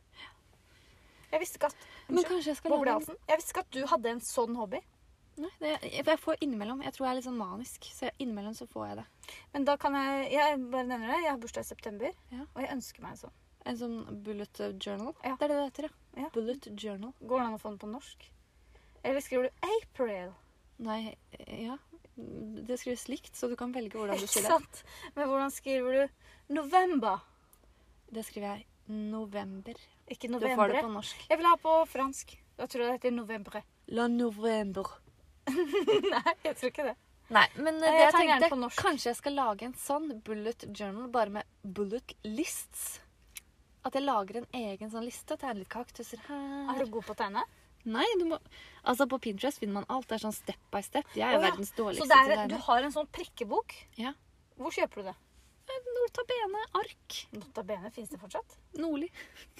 [SPEAKER 1] Jeg visste ikke at
[SPEAKER 2] Men
[SPEAKER 1] Unnskyld.
[SPEAKER 2] kanskje jeg skal lage en
[SPEAKER 1] Boblehalsen. Jeg visste ikke at du hadde en sånn hobby.
[SPEAKER 2] Nei, det, jeg, jeg får innimellom. Jeg tror jeg er litt sånn manisk, så jeg- innimellom så får jeg det.
[SPEAKER 1] Men da kan jeg Jeg bare nevner det. Jeg har bursdag i september,
[SPEAKER 2] Ja.
[SPEAKER 1] og jeg ønsker meg en sånn.
[SPEAKER 2] En sånn bullet journal.
[SPEAKER 1] Ja.
[SPEAKER 2] Det er det det heter, ja.
[SPEAKER 1] Ja.
[SPEAKER 2] Bullet journal.
[SPEAKER 1] Går det an å få den på norsk? Eller skriver du 'April'?
[SPEAKER 2] Nei, eh, ja. Det skrives likt, så du kan velge hvordan du
[SPEAKER 1] Ikke
[SPEAKER 2] sier det.
[SPEAKER 1] sant? Men hvordan skriver du 'November'?
[SPEAKER 2] Det skriver jeg november.
[SPEAKER 1] Ikke
[SPEAKER 2] Du får det
[SPEAKER 1] novembre.
[SPEAKER 2] på norsk.
[SPEAKER 1] Jeg vil ha på fransk. Da tror jeg det heter novembre.
[SPEAKER 2] La november.
[SPEAKER 1] Nei, jeg tror ikke det.
[SPEAKER 2] Nei, men eh,
[SPEAKER 1] Nei,
[SPEAKER 2] det jeg
[SPEAKER 1] jeg tar gjerne
[SPEAKER 2] tenkte,
[SPEAKER 1] på norsk.
[SPEAKER 2] kanskje jeg skal lage en sånn bullet journal, bare med bullet lists. At jeg lager en egen sånn liste. Tegner litt kaktuser her.
[SPEAKER 1] Er du god på å tegne?
[SPEAKER 2] Nei, du må Altså På Pinterest finner man alt. Det er sånn step by step. Jeg
[SPEAKER 1] Å
[SPEAKER 2] er jo
[SPEAKER 1] ja.
[SPEAKER 2] verdens
[SPEAKER 1] Så
[SPEAKER 2] dårligste
[SPEAKER 1] det
[SPEAKER 2] til å
[SPEAKER 1] er, du
[SPEAKER 2] tegne.
[SPEAKER 1] har en sånn prikkebok?
[SPEAKER 2] Ja.
[SPEAKER 1] Hvor kjøper du det?
[SPEAKER 2] Notabene, ark,
[SPEAKER 1] Notabene, fins det
[SPEAKER 2] [LAUGHS]
[SPEAKER 1] fortsatt?
[SPEAKER 2] Nordli.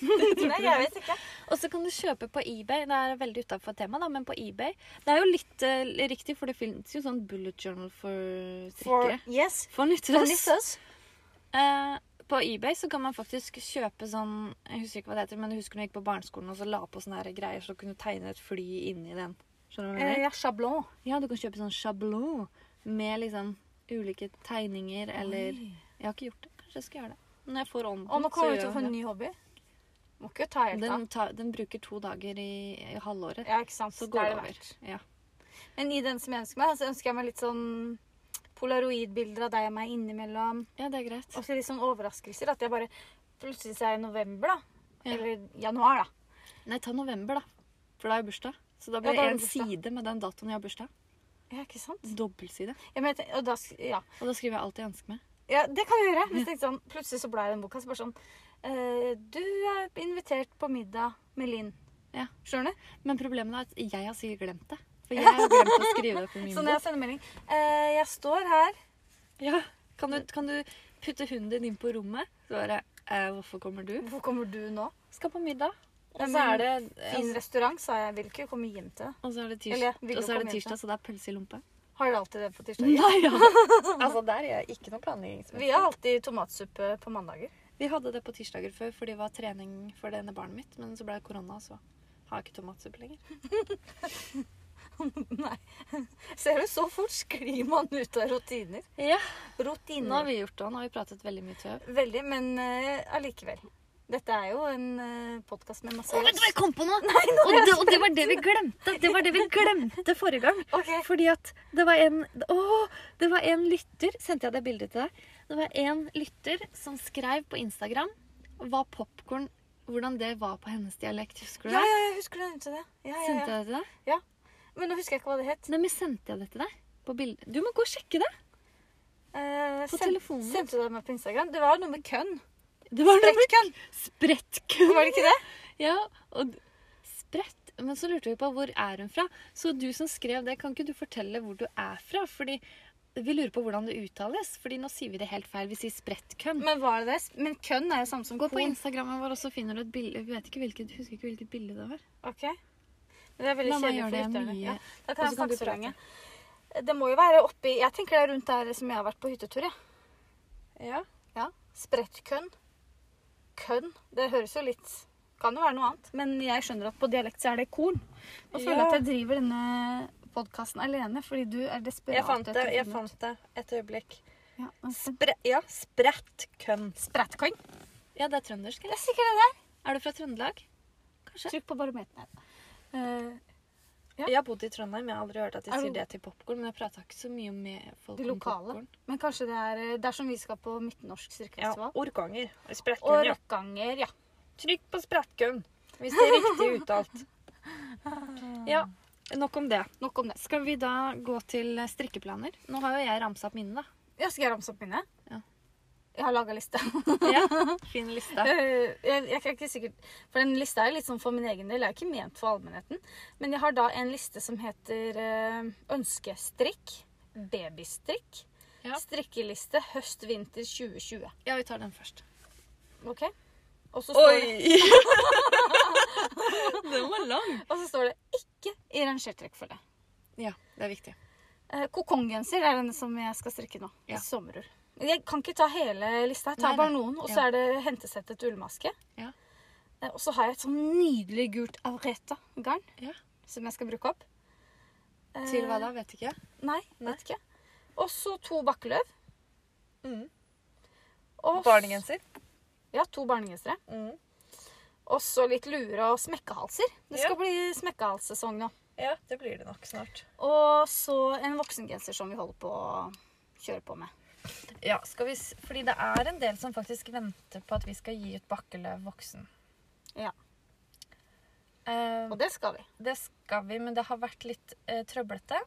[SPEAKER 1] Nei, jeg vet ikke.
[SPEAKER 2] Og så kan du kjøpe på eBay. Det er veldig utenfor temaet, da, men på eBay. Det er jo litt eh, riktig, for det finnes jo sånn bullet journal for
[SPEAKER 1] For,
[SPEAKER 2] strikkere.
[SPEAKER 1] yes.
[SPEAKER 2] For
[SPEAKER 1] For
[SPEAKER 2] nytteløs.
[SPEAKER 1] nisses.
[SPEAKER 2] Eh, på eBay så kan man faktisk kjøpe sånn Jeg husker ikke hva det heter, men jeg husker når jeg gikk på barneskolen og så la på sånne her greier, så kunne du tegne et fly inni den. Skjønner du hva jeg mener?
[SPEAKER 1] Eh, ja, sjablong.
[SPEAKER 2] Ja, du kan kjøpe sånn sjablong med liksom ulike tegninger eller
[SPEAKER 1] Oi.
[SPEAKER 2] Jeg har ikke gjort det. Kanskje jeg skal gjøre det. Når jeg får ånden,
[SPEAKER 1] Og nå kommer du
[SPEAKER 2] gjør
[SPEAKER 1] til å få
[SPEAKER 2] jeg
[SPEAKER 1] en ny hobby. Må ikke ta
[SPEAKER 2] det.
[SPEAKER 1] helt av.
[SPEAKER 2] Den, tar- den bruker to dager i, i halvåret.
[SPEAKER 1] Ja, ikke sant.
[SPEAKER 2] så
[SPEAKER 1] Det
[SPEAKER 2] går
[SPEAKER 1] er
[SPEAKER 2] det
[SPEAKER 1] det
[SPEAKER 2] over.
[SPEAKER 1] verdt.
[SPEAKER 2] Ja.
[SPEAKER 1] Men i den som jeg ønsker meg, så ønsker jeg meg litt sånn polaroidbilder av deg og meg innimellom.
[SPEAKER 2] ja, det er greit.
[SPEAKER 1] Og så litt sånn overraskelser. At jeg bare plutselig så er det november, da.
[SPEAKER 2] Ja.
[SPEAKER 1] Eller januar, da.
[SPEAKER 2] Nei, ta november, da. For da har jeg bursdag. Så da blir
[SPEAKER 1] da
[SPEAKER 2] det
[SPEAKER 1] har
[SPEAKER 2] en
[SPEAKER 1] du bursdag.
[SPEAKER 2] side med den datoen jeg har bursdag.
[SPEAKER 1] Ja, ikke sant?
[SPEAKER 2] Dobbeltside.
[SPEAKER 1] Ja, men jeg tenk- og da, sk- ja.
[SPEAKER 2] Og da skriver jeg alt jeg ønsker meg.
[SPEAKER 1] ja, det kan jeg gjøre. Men jeg tenkte sånn, plutselig så ble den boka så bare sånn eh, Du er invitert på middag med Linn.
[SPEAKER 2] Ja.
[SPEAKER 1] Skjønner du?
[SPEAKER 2] Men problemet er at jeg har sikkert glemt det. For jeg har glemt å skrive det på [LAUGHS] min
[SPEAKER 1] Så når Sånn, jeg
[SPEAKER 2] bok.
[SPEAKER 1] sender melding eh, 'Jeg står her
[SPEAKER 2] Ja. Kan, du, kan du putte hunden din inn på rommet? Så bare eh, Hvorfor kommer du?
[SPEAKER 1] Hvorfor kommer du nå?'
[SPEAKER 2] Skal på middag. Og
[SPEAKER 1] Ja,
[SPEAKER 2] så
[SPEAKER 1] men
[SPEAKER 2] er det,
[SPEAKER 1] Fin restaurant, sa jeg. Jeg Vil ikke komme hjem til det.
[SPEAKER 2] og så er det
[SPEAKER 1] Eller,
[SPEAKER 2] tirsdag,
[SPEAKER 1] vil du
[SPEAKER 2] og så er
[SPEAKER 1] komme
[SPEAKER 2] det
[SPEAKER 1] hjem
[SPEAKER 2] tirsdag så det er pølse i lompe.
[SPEAKER 1] Har dere alltid det på tirsdager?
[SPEAKER 2] Nei, [LAUGHS] ja. altså, der er jeg ikke noen planleggingsmøte.
[SPEAKER 1] Vi har alltid tomatsuppe på mandager. [LAUGHS]
[SPEAKER 2] Vi hadde det på tirsdager før, for det var trening for det ene barnet mitt. Men så ble det korona, så har jeg ikke tomatsuppe lenger.
[SPEAKER 1] Nei. Ser du, så fort sklir man ut av rutiner.
[SPEAKER 2] Ja, Nå har
[SPEAKER 1] Rutiner.
[SPEAKER 2] vi gjort det, og nå har vi pratet veldig mye tøv.
[SPEAKER 1] Veldig, men eh, allikevel. Dette er jo en uh, podkast med masse
[SPEAKER 2] Å, vet du hva jeg kom på nå? og, det, og det var det vi glemte! Det var det vi glemte forrige gang.
[SPEAKER 1] Ok,
[SPEAKER 2] Fordi at det var en Å! Det var en lytter Sendte jeg det bildet til deg? Det var en lytter som skrev på Instagram hva popkorn Hvordan det var på hennes dialekt. Husker
[SPEAKER 1] Ja,
[SPEAKER 2] du det?
[SPEAKER 1] ja, jeg husker du nevnte det. Ja, ja,
[SPEAKER 2] Sendte
[SPEAKER 1] ja.
[SPEAKER 2] jeg det til deg?
[SPEAKER 1] Men nå husker jeg ikke hva det het.
[SPEAKER 2] Nei, men sendte jeg det til deg? På bildet. Du må gå og sjekke det!
[SPEAKER 1] Eh,
[SPEAKER 2] På
[SPEAKER 1] send-
[SPEAKER 2] telefonen.
[SPEAKER 1] Sendte du det meg på Instagram? Det var noe med kønn.
[SPEAKER 2] Det var noe
[SPEAKER 1] Sprekk kønn.
[SPEAKER 2] sprettkønn.
[SPEAKER 1] Var det ikke det?
[SPEAKER 2] Ja, og d- spredt. Men så lurte vi på hvor er hun fra. Så du som skrev det, kan ikke du fortelle hvor du er fra? Fordi vi lurer på hvordan det uttales. Fordi nå sier vi det helt feil. Vi sier sprettkønn.
[SPEAKER 1] Men var det det? Men kønn er jo samme som
[SPEAKER 2] Gå på
[SPEAKER 1] korn.
[SPEAKER 2] Instagrammen vår, og så finner du et bilde. Vi vet ikke hvilket, husker ikke hvilket bilde det var.
[SPEAKER 1] Ok. Men det er veldig
[SPEAKER 2] La meg
[SPEAKER 1] kjedelig
[SPEAKER 2] gjøre
[SPEAKER 1] for
[SPEAKER 2] det
[SPEAKER 1] lytterne.
[SPEAKER 2] mye.
[SPEAKER 1] Ja, da kan jeg
[SPEAKER 2] Og så kan du
[SPEAKER 1] snakke så lenge. Det må jo være oppi Jeg tenker det er rundt der som jeg har vært på hyttetur, jeg.
[SPEAKER 2] Ja.
[SPEAKER 1] Ja. Sprettkønn. Kønn. Det høres jo litt Kan jo være noe annet. Men jeg skjønner at på dialekt så er det korn. Og føler
[SPEAKER 2] Ja.
[SPEAKER 1] at jeg driver denne podkasten alene fordi du er desperat.
[SPEAKER 3] Jeg fant det.
[SPEAKER 1] etter å
[SPEAKER 3] jeg
[SPEAKER 1] finne
[SPEAKER 3] fant det. Et øyeblikk.
[SPEAKER 1] ut. Ja, men sp-
[SPEAKER 3] Spre ja, sprettkønn.
[SPEAKER 1] Sprettkønn.
[SPEAKER 2] ja, det er trøndersk,
[SPEAKER 1] Det
[SPEAKER 2] eller?
[SPEAKER 1] er sikkert det der.
[SPEAKER 2] Er du fra Trøndelag? Kanskje?
[SPEAKER 1] Trykk på barometeret. Eh, Ja.
[SPEAKER 3] Jeg har bodd i Trondheim, jeg har aldri hørt at de
[SPEAKER 1] Er
[SPEAKER 3] sier
[SPEAKER 1] du-
[SPEAKER 3] det til popkorn. Men jeg prata ikke så mye med folk
[SPEAKER 1] De
[SPEAKER 2] Om
[SPEAKER 1] lokale.
[SPEAKER 2] popcorn.
[SPEAKER 1] men kanskje det er eh, Det er som vi skal på Midtnorsk
[SPEAKER 3] Ja,
[SPEAKER 1] strikkefestival.
[SPEAKER 3] Orkanger.
[SPEAKER 1] Og
[SPEAKER 3] Sprettkønn, ja.
[SPEAKER 1] Røkkanger, ja.
[SPEAKER 3] Trykk på sprettkønn hvis det er riktig
[SPEAKER 1] [LAUGHS]
[SPEAKER 3] uttalt. Ja, nok om det.
[SPEAKER 1] Nok om det.
[SPEAKER 2] Skal vi da gå til eh, strikkeplaner? Nå har jo jeg ramsa opp
[SPEAKER 3] [LAUGHS]
[SPEAKER 2] mine, da.
[SPEAKER 1] Jeg skal ramse opp mine.
[SPEAKER 2] Ja.
[SPEAKER 1] Jeg har laga liste.
[SPEAKER 2] Ja, fin liste.
[SPEAKER 1] Eh, [LAUGHS] Jeg, jeg er ikke sikkert, for den lista er litt sånn for min egen del, jeg er ikke ment for allmennheten. Men jeg har da en liste som heter eh, ønskestrikk, babystrikk,
[SPEAKER 2] Ja.
[SPEAKER 1] strikkeliste høst-vinter 2020.
[SPEAKER 2] Ja, vi tar den først.
[SPEAKER 1] Ok? Og så står, det,
[SPEAKER 3] [LAUGHS] Oi!
[SPEAKER 2] Den var lang.
[SPEAKER 1] og så står det ikke i rangert rekkefølge.
[SPEAKER 2] Ja, det er viktig.
[SPEAKER 1] Eh, Kokonggenser er den som jeg skal strikke nå.
[SPEAKER 2] Ja.
[SPEAKER 1] i Sommerull. Men Jeg kan ikke ta hele lista, jeg tar
[SPEAKER 2] Nei,
[SPEAKER 1] bare
[SPEAKER 2] nei.
[SPEAKER 1] noen. Og så
[SPEAKER 2] Ja.
[SPEAKER 1] er det hentesettet ullmaske.
[SPEAKER 2] Ja.
[SPEAKER 1] Eh, Og så har jeg et sånn nydelig gult Avreta-garn
[SPEAKER 2] Ja.
[SPEAKER 1] som jeg skal bruke opp. Eh,
[SPEAKER 2] Til hva da? Vet ikke.
[SPEAKER 1] Nei,
[SPEAKER 3] Nei.
[SPEAKER 1] vet ikke. Og så to bakkeløv.
[SPEAKER 3] Mm.
[SPEAKER 1] og s-
[SPEAKER 3] Barnegenser.
[SPEAKER 1] Ja, to barnegensere.
[SPEAKER 3] Mm.
[SPEAKER 1] Og så litt luer og smekkehalser. Det
[SPEAKER 3] Ja.
[SPEAKER 1] skal bli smekkehalssesong nå.
[SPEAKER 3] Ja, det blir det nok snart.
[SPEAKER 1] Og så en voksengenser som vi holder på å kjøre på med.
[SPEAKER 3] Ja, skal vi s Fordi det er en del som faktisk venter på at vi skal gi ut Bakkeløv voksen.
[SPEAKER 1] Ja.
[SPEAKER 3] Eh,
[SPEAKER 1] Og det skal vi.
[SPEAKER 3] Det skal vi, men det har vært litt eh, trøblete.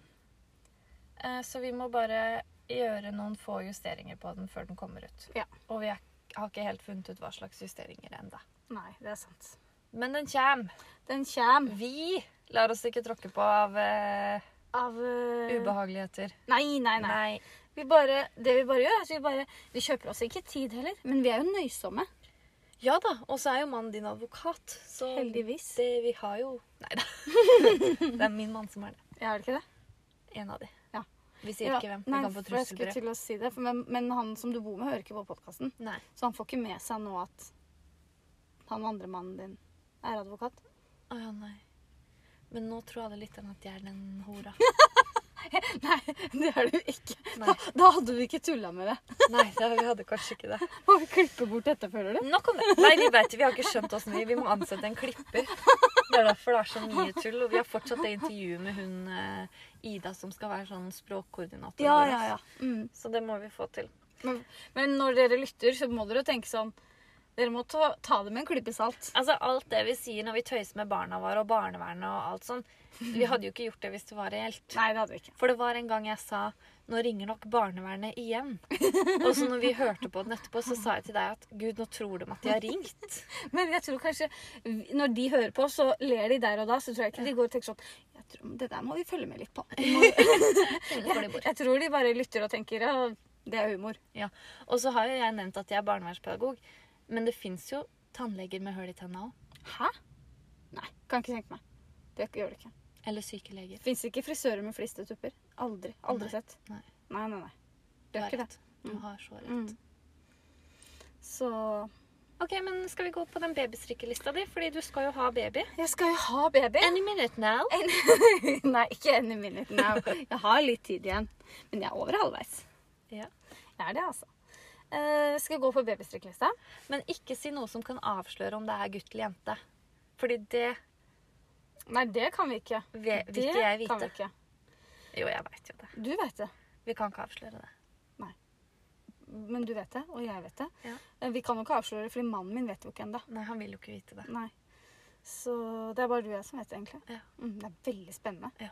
[SPEAKER 3] Eh, så vi må bare gjøre noen få justeringer på den før den kommer ut.
[SPEAKER 1] Ja.
[SPEAKER 3] Og vi er, har ikke helt funnet ut hva slags justeringer ennå.
[SPEAKER 1] Nei, det er sant.
[SPEAKER 3] Men den kjem.
[SPEAKER 1] Den kjem
[SPEAKER 3] Vi lar oss ikke tråkke på av eh,
[SPEAKER 1] av
[SPEAKER 2] Mm.
[SPEAKER 1] eh,
[SPEAKER 3] ubehageligheter.
[SPEAKER 1] Nei, nei, nei. Vi bare, det vi bare gjør, er at vi bare Vi kjøper oss ikke tid heller, men vi er jo nøysomme.
[SPEAKER 2] Ja da, og så er jo mannen din advokat, så
[SPEAKER 1] Heldigvis.
[SPEAKER 2] det vi har jo Nei
[SPEAKER 3] [LAUGHS]
[SPEAKER 2] da. det er min mann som er det.
[SPEAKER 1] Ja, er det ikke det?
[SPEAKER 2] En av de.
[SPEAKER 1] Ja.
[SPEAKER 2] Vi sier
[SPEAKER 1] Ja,
[SPEAKER 2] ikke hvem.
[SPEAKER 1] Nei,
[SPEAKER 2] vi kan få
[SPEAKER 1] for jeg skulle
[SPEAKER 2] trusselbrev.
[SPEAKER 1] til å si det. For men, men han som du bor med, hører ikke på podkasten.
[SPEAKER 2] Nei.
[SPEAKER 1] Så han får ikke med seg nå at han andre mannen din er advokat. [LAUGHS]
[SPEAKER 2] Å ja, nei. Men nå tror alle lytterne at jeg er den hora.
[SPEAKER 1] Nei, det er du ikke.
[SPEAKER 2] Nei,
[SPEAKER 1] Da hadde vi ikke tulla med det.
[SPEAKER 3] [LAUGHS] Nei, det, vi hadde kanskje ikke det.
[SPEAKER 1] Må vi klippe bort dette, føler du?
[SPEAKER 3] Nok om det. Nei, vi vet, vi har ikke skjønt oss mye. Vi må ansette en klipper. Det er derfor det er så mye tull. Og vi har fortsatt det intervjuet med hun eh, Ida som skal være sånn språkkoordinator.
[SPEAKER 1] Ja,
[SPEAKER 3] vår.
[SPEAKER 1] ja, ja. Mm.
[SPEAKER 3] Så det må vi få til.
[SPEAKER 1] Men når dere lytter, så må dere jo tenke sånn Dere må ta, ta det med en klype salt.
[SPEAKER 2] Altså, alt det vi sier når vi tøyser med barna våre og barnevernet og alt sånn, vi hadde jo ikke gjort det hvis det var reelt.
[SPEAKER 1] Nei, det hadde vi ikke.
[SPEAKER 2] For det var en gang jeg sa nå ringer nok barnevernet igjen. Og så når vi hørte på den etterpå, så sa jeg til deg at gud, nå tror de at de har ringt.
[SPEAKER 1] Men jeg tror kanskje vi- når de hører på, så ler de der og da. Så tror jeg ikke de går og tenker sånn jeg tror, Det der må vi følge med litt [LAUGHS] på. Vi må-
[SPEAKER 2] Finne hvor de bor.
[SPEAKER 1] Jeg tror de bare lytter og tenker ja, det er humor.
[SPEAKER 2] Ja. Og så har jo jeg nevnt at jeg er barnevernspedagog, men det fins jo tannleger med hull i tenna òg.
[SPEAKER 1] Hæ? Nei, kan ikke tenke meg. Det gjør det ikke.
[SPEAKER 2] Eller sykeleger.
[SPEAKER 1] Fins ikke frisører med flistetupper. Aldri. Aldri
[SPEAKER 2] Nei,
[SPEAKER 1] sett.
[SPEAKER 2] nei.
[SPEAKER 1] nei, nei. nei. Det
[SPEAKER 2] Du
[SPEAKER 1] gjør
[SPEAKER 2] har
[SPEAKER 1] ikke det.
[SPEAKER 2] rett. Du
[SPEAKER 1] Mm.
[SPEAKER 2] har så rett.
[SPEAKER 1] Mm. Så
[SPEAKER 2] Ok, men skal vi gå på den babystrikkelista di? Fordi du skal jo ha baby.
[SPEAKER 1] Jeg skal jo ha baby.
[SPEAKER 2] Any minute now.
[SPEAKER 1] [LAUGHS] Nei, ikke any minute now. Jeg har litt tid igjen. Men jeg er over halvveis.
[SPEAKER 2] Ja.
[SPEAKER 1] Jeg er det, altså. Eh, skal jeg gå på babystrikkelista?
[SPEAKER 2] Men ikke si noe som kan avsløre om det er gutt eller jente. Fordi det
[SPEAKER 1] Nei, det kan vi ikke.
[SPEAKER 2] ve- vil
[SPEAKER 1] Det
[SPEAKER 2] ikke jeg
[SPEAKER 1] kan vi
[SPEAKER 2] vite.
[SPEAKER 1] ikke.
[SPEAKER 2] Jo, jeg veit jo det.
[SPEAKER 1] Du vet det.
[SPEAKER 2] Vi kan ikke avsløre det.
[SPEAKER 1] Men du vet det, og jeg vet det.
[SPEAKER 2] Ja.
[SPEAKER 1] Eh, Vi kan jo ikke avsløre det, fordi mannen min vet jo ikke ennå.
[SPEAKER 2] Nei, han vil jo ikke vite det.
[SPEAKER 1] Nei. Så det er bare du og jeg som vet det, egentlig.
[SPEAKER 2] Ja.
[SPEAKER 1] Mm, det er veldig spennende.
[SPEAKER 2] Ja.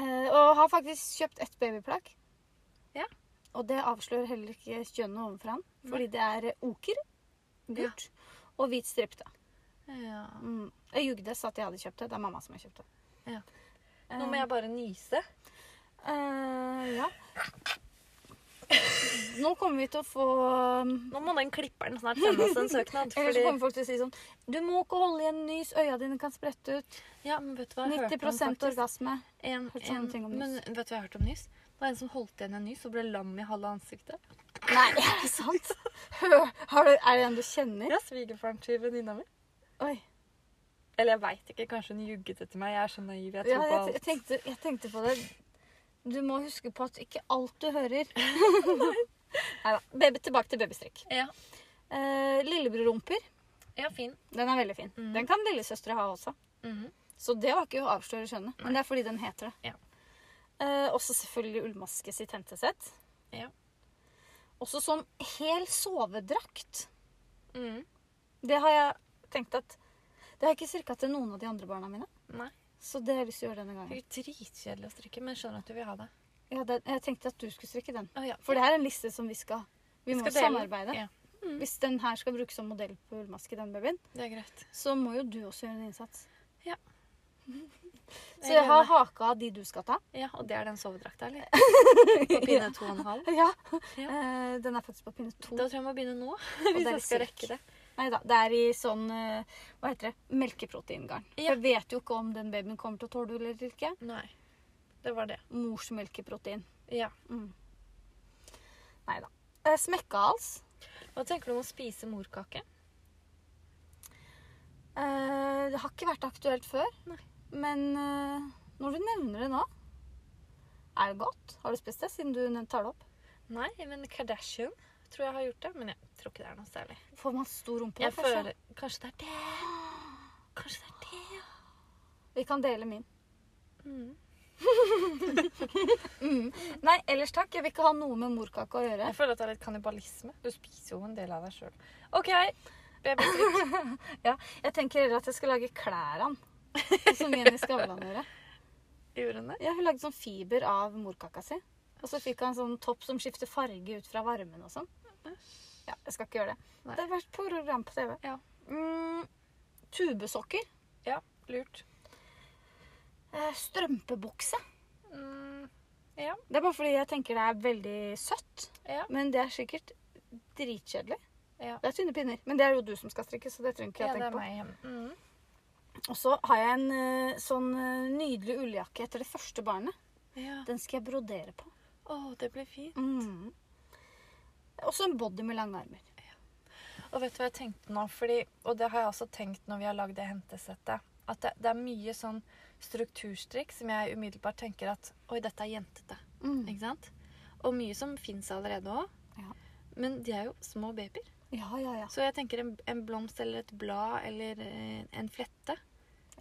[SPEAKER 1] Eh, og har faktisk kjøpt ett babyplagg.
[SPEAKER 2] Ja.
[SPEAKER 1] Og det avslører heller ikke kjønnet overfor han, fordi det er eh, oker, gult og hvit stripte.
[SPEAKER 2] Ja.
[SPEAKER 1] Mm. Jeg jugde, sa at jeg hadde kjøpt det. Det er mamma som har kjøpt det.
[SPEAKER 2] Ja. Nå må jeg bare nyse.
[SPEAKER 1] Eh, ja. Nå kommer vi til å få
[SPEAKER 2] Nå må den klipperen snart sende oss en
[SPEAKER 1] [LAUGHS]
[SPEAKER 2] søknad.
[SPEAKER 1] Eller så
[SPEAKER 2] Fordi...
[SPEAKER 1] kommer folk til å si sånn Du må ikke holde igjen nys, øya dine kan sprette ut.
[SPEAKER 2] Ja, men vet du hva jeg
[SPEAKER 1] 90
[SPEAKER 2] hørte om faktisk?
[SPEAKER 1] orgasme.
[SPEAKER 2] En,
[SPEAKER 1] Hørte sånne
[SPEAKER 2] en,
[SPEAKER 1] ting om nys.
[SPEAKER 2] men vet du hva jeg hørte om nys? Det var en som holdt igjen en nys og ble lam i halve ansiktet.
[SPEAKER 1] Nei, [LAUGHS] er det sant? Hø, har du, er det en du kjenner?
[SPEAKER 2] Ja, svigerfaren til venninna mi.
[SPEAKER 1] Oi.
[SPEAKER 2] Eller jeg veit ikke, kanskje hun jugget etter meg. Jeg er så naiv. Jeg
[SPEAKER 1] Ja,
[SPEAKER 2] tror på
[SPEAKER 1] jeg, jeg,
[SPEAKER 2] alt.
[SPEAKER 1] tenkte, jeg tenkte på det. Du må huske på at ikke alt du
[SPEAKER 2] [LAUGHS]
[SPEAKER 1] hører Neida. Baby, tilbake til babystrikk.
[SPEAKER 2] Ja.
[SPEAKER 1] Eh, Lillebror-rumper.
[SPEAKER 2] ja, fin.
[SPEAKER 1] Den er veldig fin.
[SPEAKER 2] Mm.
[SPEAKER 1] Den kan lillesøstre ha også.
[SPEAKER 2] Mhm.
[SPEAKER 1] Så det var ikke å avsløre skjønnet. Men det er fordi den heter det.
[SPEAKER 2] Ja.
[SPEAKER 1] Eh, også selvfølgelig ullmaske sitt hentesett.
[SPEAKER 2] Ja.
[SPEAKER 1] Også sånn hel sovedrakt.
[SPEAKER 2] Mhm.
[SPEAKER 1] Det har jeg tenkt at Det har jeg ikke cirka til noen av de andre barna mine.
[SPEAKER 2] Nei.
[SPEAKER 1] Så det har jeg lyst til å gjøre denne gangen.
[SPEAKER 2] Det er jo dritkjedelig å strikke, men jeg skjønner at du vil ha det.
[SPEAKER 1] Ja, den, jeg tenkte at du skulle strikke den.
[SPEAKER 2] Å, ja.
[SPEAKER 1] For det her er en liste som vi skal Vi må
[SPEAKER 2] skal dele.
[SPEAKER 1] samarbeide.
[SPEAKER 2] Ja.
[SPEAKER 1] Hvis den her skal brukes som modell på ullmaske, den babyen,
[SPEAKER 2] Det er greit.
[SPEAKER 1] så må jo du også gjøre en innsats.
[SPEAKER 2] Ja.
[SPEAKER 1] [LAUGHS] Så jeg har haka av de du skal ta.
[SPEAKER 2] Ja, og det er den sovedrakta, eller? På pinne to og en halv.
[SPEAKER 1] [LAUGHS] Ja.
[SPEAKER 2] Ja.
[SPEAKER 1] Eh, den er faktisk på pinne to.
[SPEAKER 2] Da tror jeg jeg må begynne nå.
[SPEAKER 1] det
[SPEAKER 2] Hvis
[SPEAKER 1] er
[SPEAKER 2] jeg skal
[SPEAKER 1] silk.
[SPEAKER 2] rekke det.
[SPEAKER 1] Nei da, det er i sånn eh, Hva heter det? Melkeproteingarn.
[SPEAKER 2] Ja.
[SPEAKER 1] Jeg vet jo ikke om den babyen kommer til å tåle ull eller ikke.
[SPEAKER 2] Nei. Det var det.
[SPEAKER 1] Mors melkeprotein.
[SPEAKER 2] Ja.
[SPEAKER 1] Mm. Nei da. Eh, Smekkehals.
[SPEAKER 2] Hva tenker du om å spise morkake?
[SPEAKER 1] Eh, det har ikke vært aktuelt før.
[SPEAKER 2] Nei.
[SPEAKER 1] Men eh, når du nevner det nå Er det godt? Har du spist det siden du nev- tar det opp?
[SPEAKER 2] Nei, men Kardashian tror jeg har gjort det. Men jeg tror ikke det er noe særlig.
[SPEAKER 1] Får man stor rumpe?
[SPEAKER 2] Jeg
[SPEAKER 1] da, kanskje?
[SPEAKER 2] føler Kanskje det er det? Kanskje det er det, ja.
[SPEAKER 1] Vi kan dele min.
[SPEAKER 2] Mm.
[SPEAKER 1] [LAUGHS] Mm. Nei, ellers takk. Jeg vil ikke ha noe med morkake å gjøre.
[SPEAKER 2] Jeg føler at det er litt kannibalisme. Du spiser jo en del av deg sjøl. OK. Babystrikk.
[SPEAKER 1] Ja, jeg tenker heller at jeg skal lage klær av den. Sånn Som Jenny Skavlan gjorde.
[SPEAKER 2] Gjorde hun det?
[SPEAKER 1] Ja, hun lagde sånn fiber av morkaka si. Og så fikk hun en sånn topp som skifter farge ut fra varmen og sånn. Ja, jeg skal ikke gjøre det.
[SPEAKER 2] Nei.
[SPEAKER 1] Det har vært program på TV.
[SPEAKER 2] Ja.
[SPEAKER 1] Mm, tubesokker.
[SPEAKER 2] Ja, lurt.
[SPEAKER 1] Eh, strømpebukse.
[SPEAKER 2] Mm. Ja.
[SPEAKER 1] Det er bare fordi jeg tenker det er veldig søtt.
[SPEAKER 2] Ja.
[SPEAKER 1] Men det er sikkert dritkjedelig.
[SPEAKER 2] Ja.
[SPEAKER 1] Det er tynne pinner. Men det er jo du som skal strikke, så det trenger ikke
[SPEAKER 2] ja,
[SPEAKER 1] jeg
[SPEAKER 2] det
[SPEAKER 1] tenke
[SPEAKER 2] er
[SPEAKER 1] på.
[SPEAKER 2] meg hjemme. Mm.
[SPEAKER 1] Og så har jeg en eh, sånn eh, nydelig ulljakke etter det første barnet.
[SPEAKER 2] Ja.
[SPEAKER 1] Den skal jeg brodere på.
[SPEAKER 2] Å, det blir fint.
[SPEAKER 1] Mm. Også en body med lange armer.
[SPEAKER 2] Og vet du hva jeg tenkte nå? Fordi, og det har jeg også tenkt når vi har lagd det hentesettet. At det, det er mye sånn strukturstrikk som jeg umiddelbart tenker at Oi, dette er jentete.
[SPEAKER 1] Mm.
[SPEAKER 2] Ikke sant? Og mye som fins allerede òg.
[SPEAKER 1] Ja.
[SPEAKER 2] Men de er jo små babyer.
[SPEAKER 1] Ja, ja, ja.
[SPEAKER 2] Så jeg tenker en, en blomst eller et blad eller eh, en flette.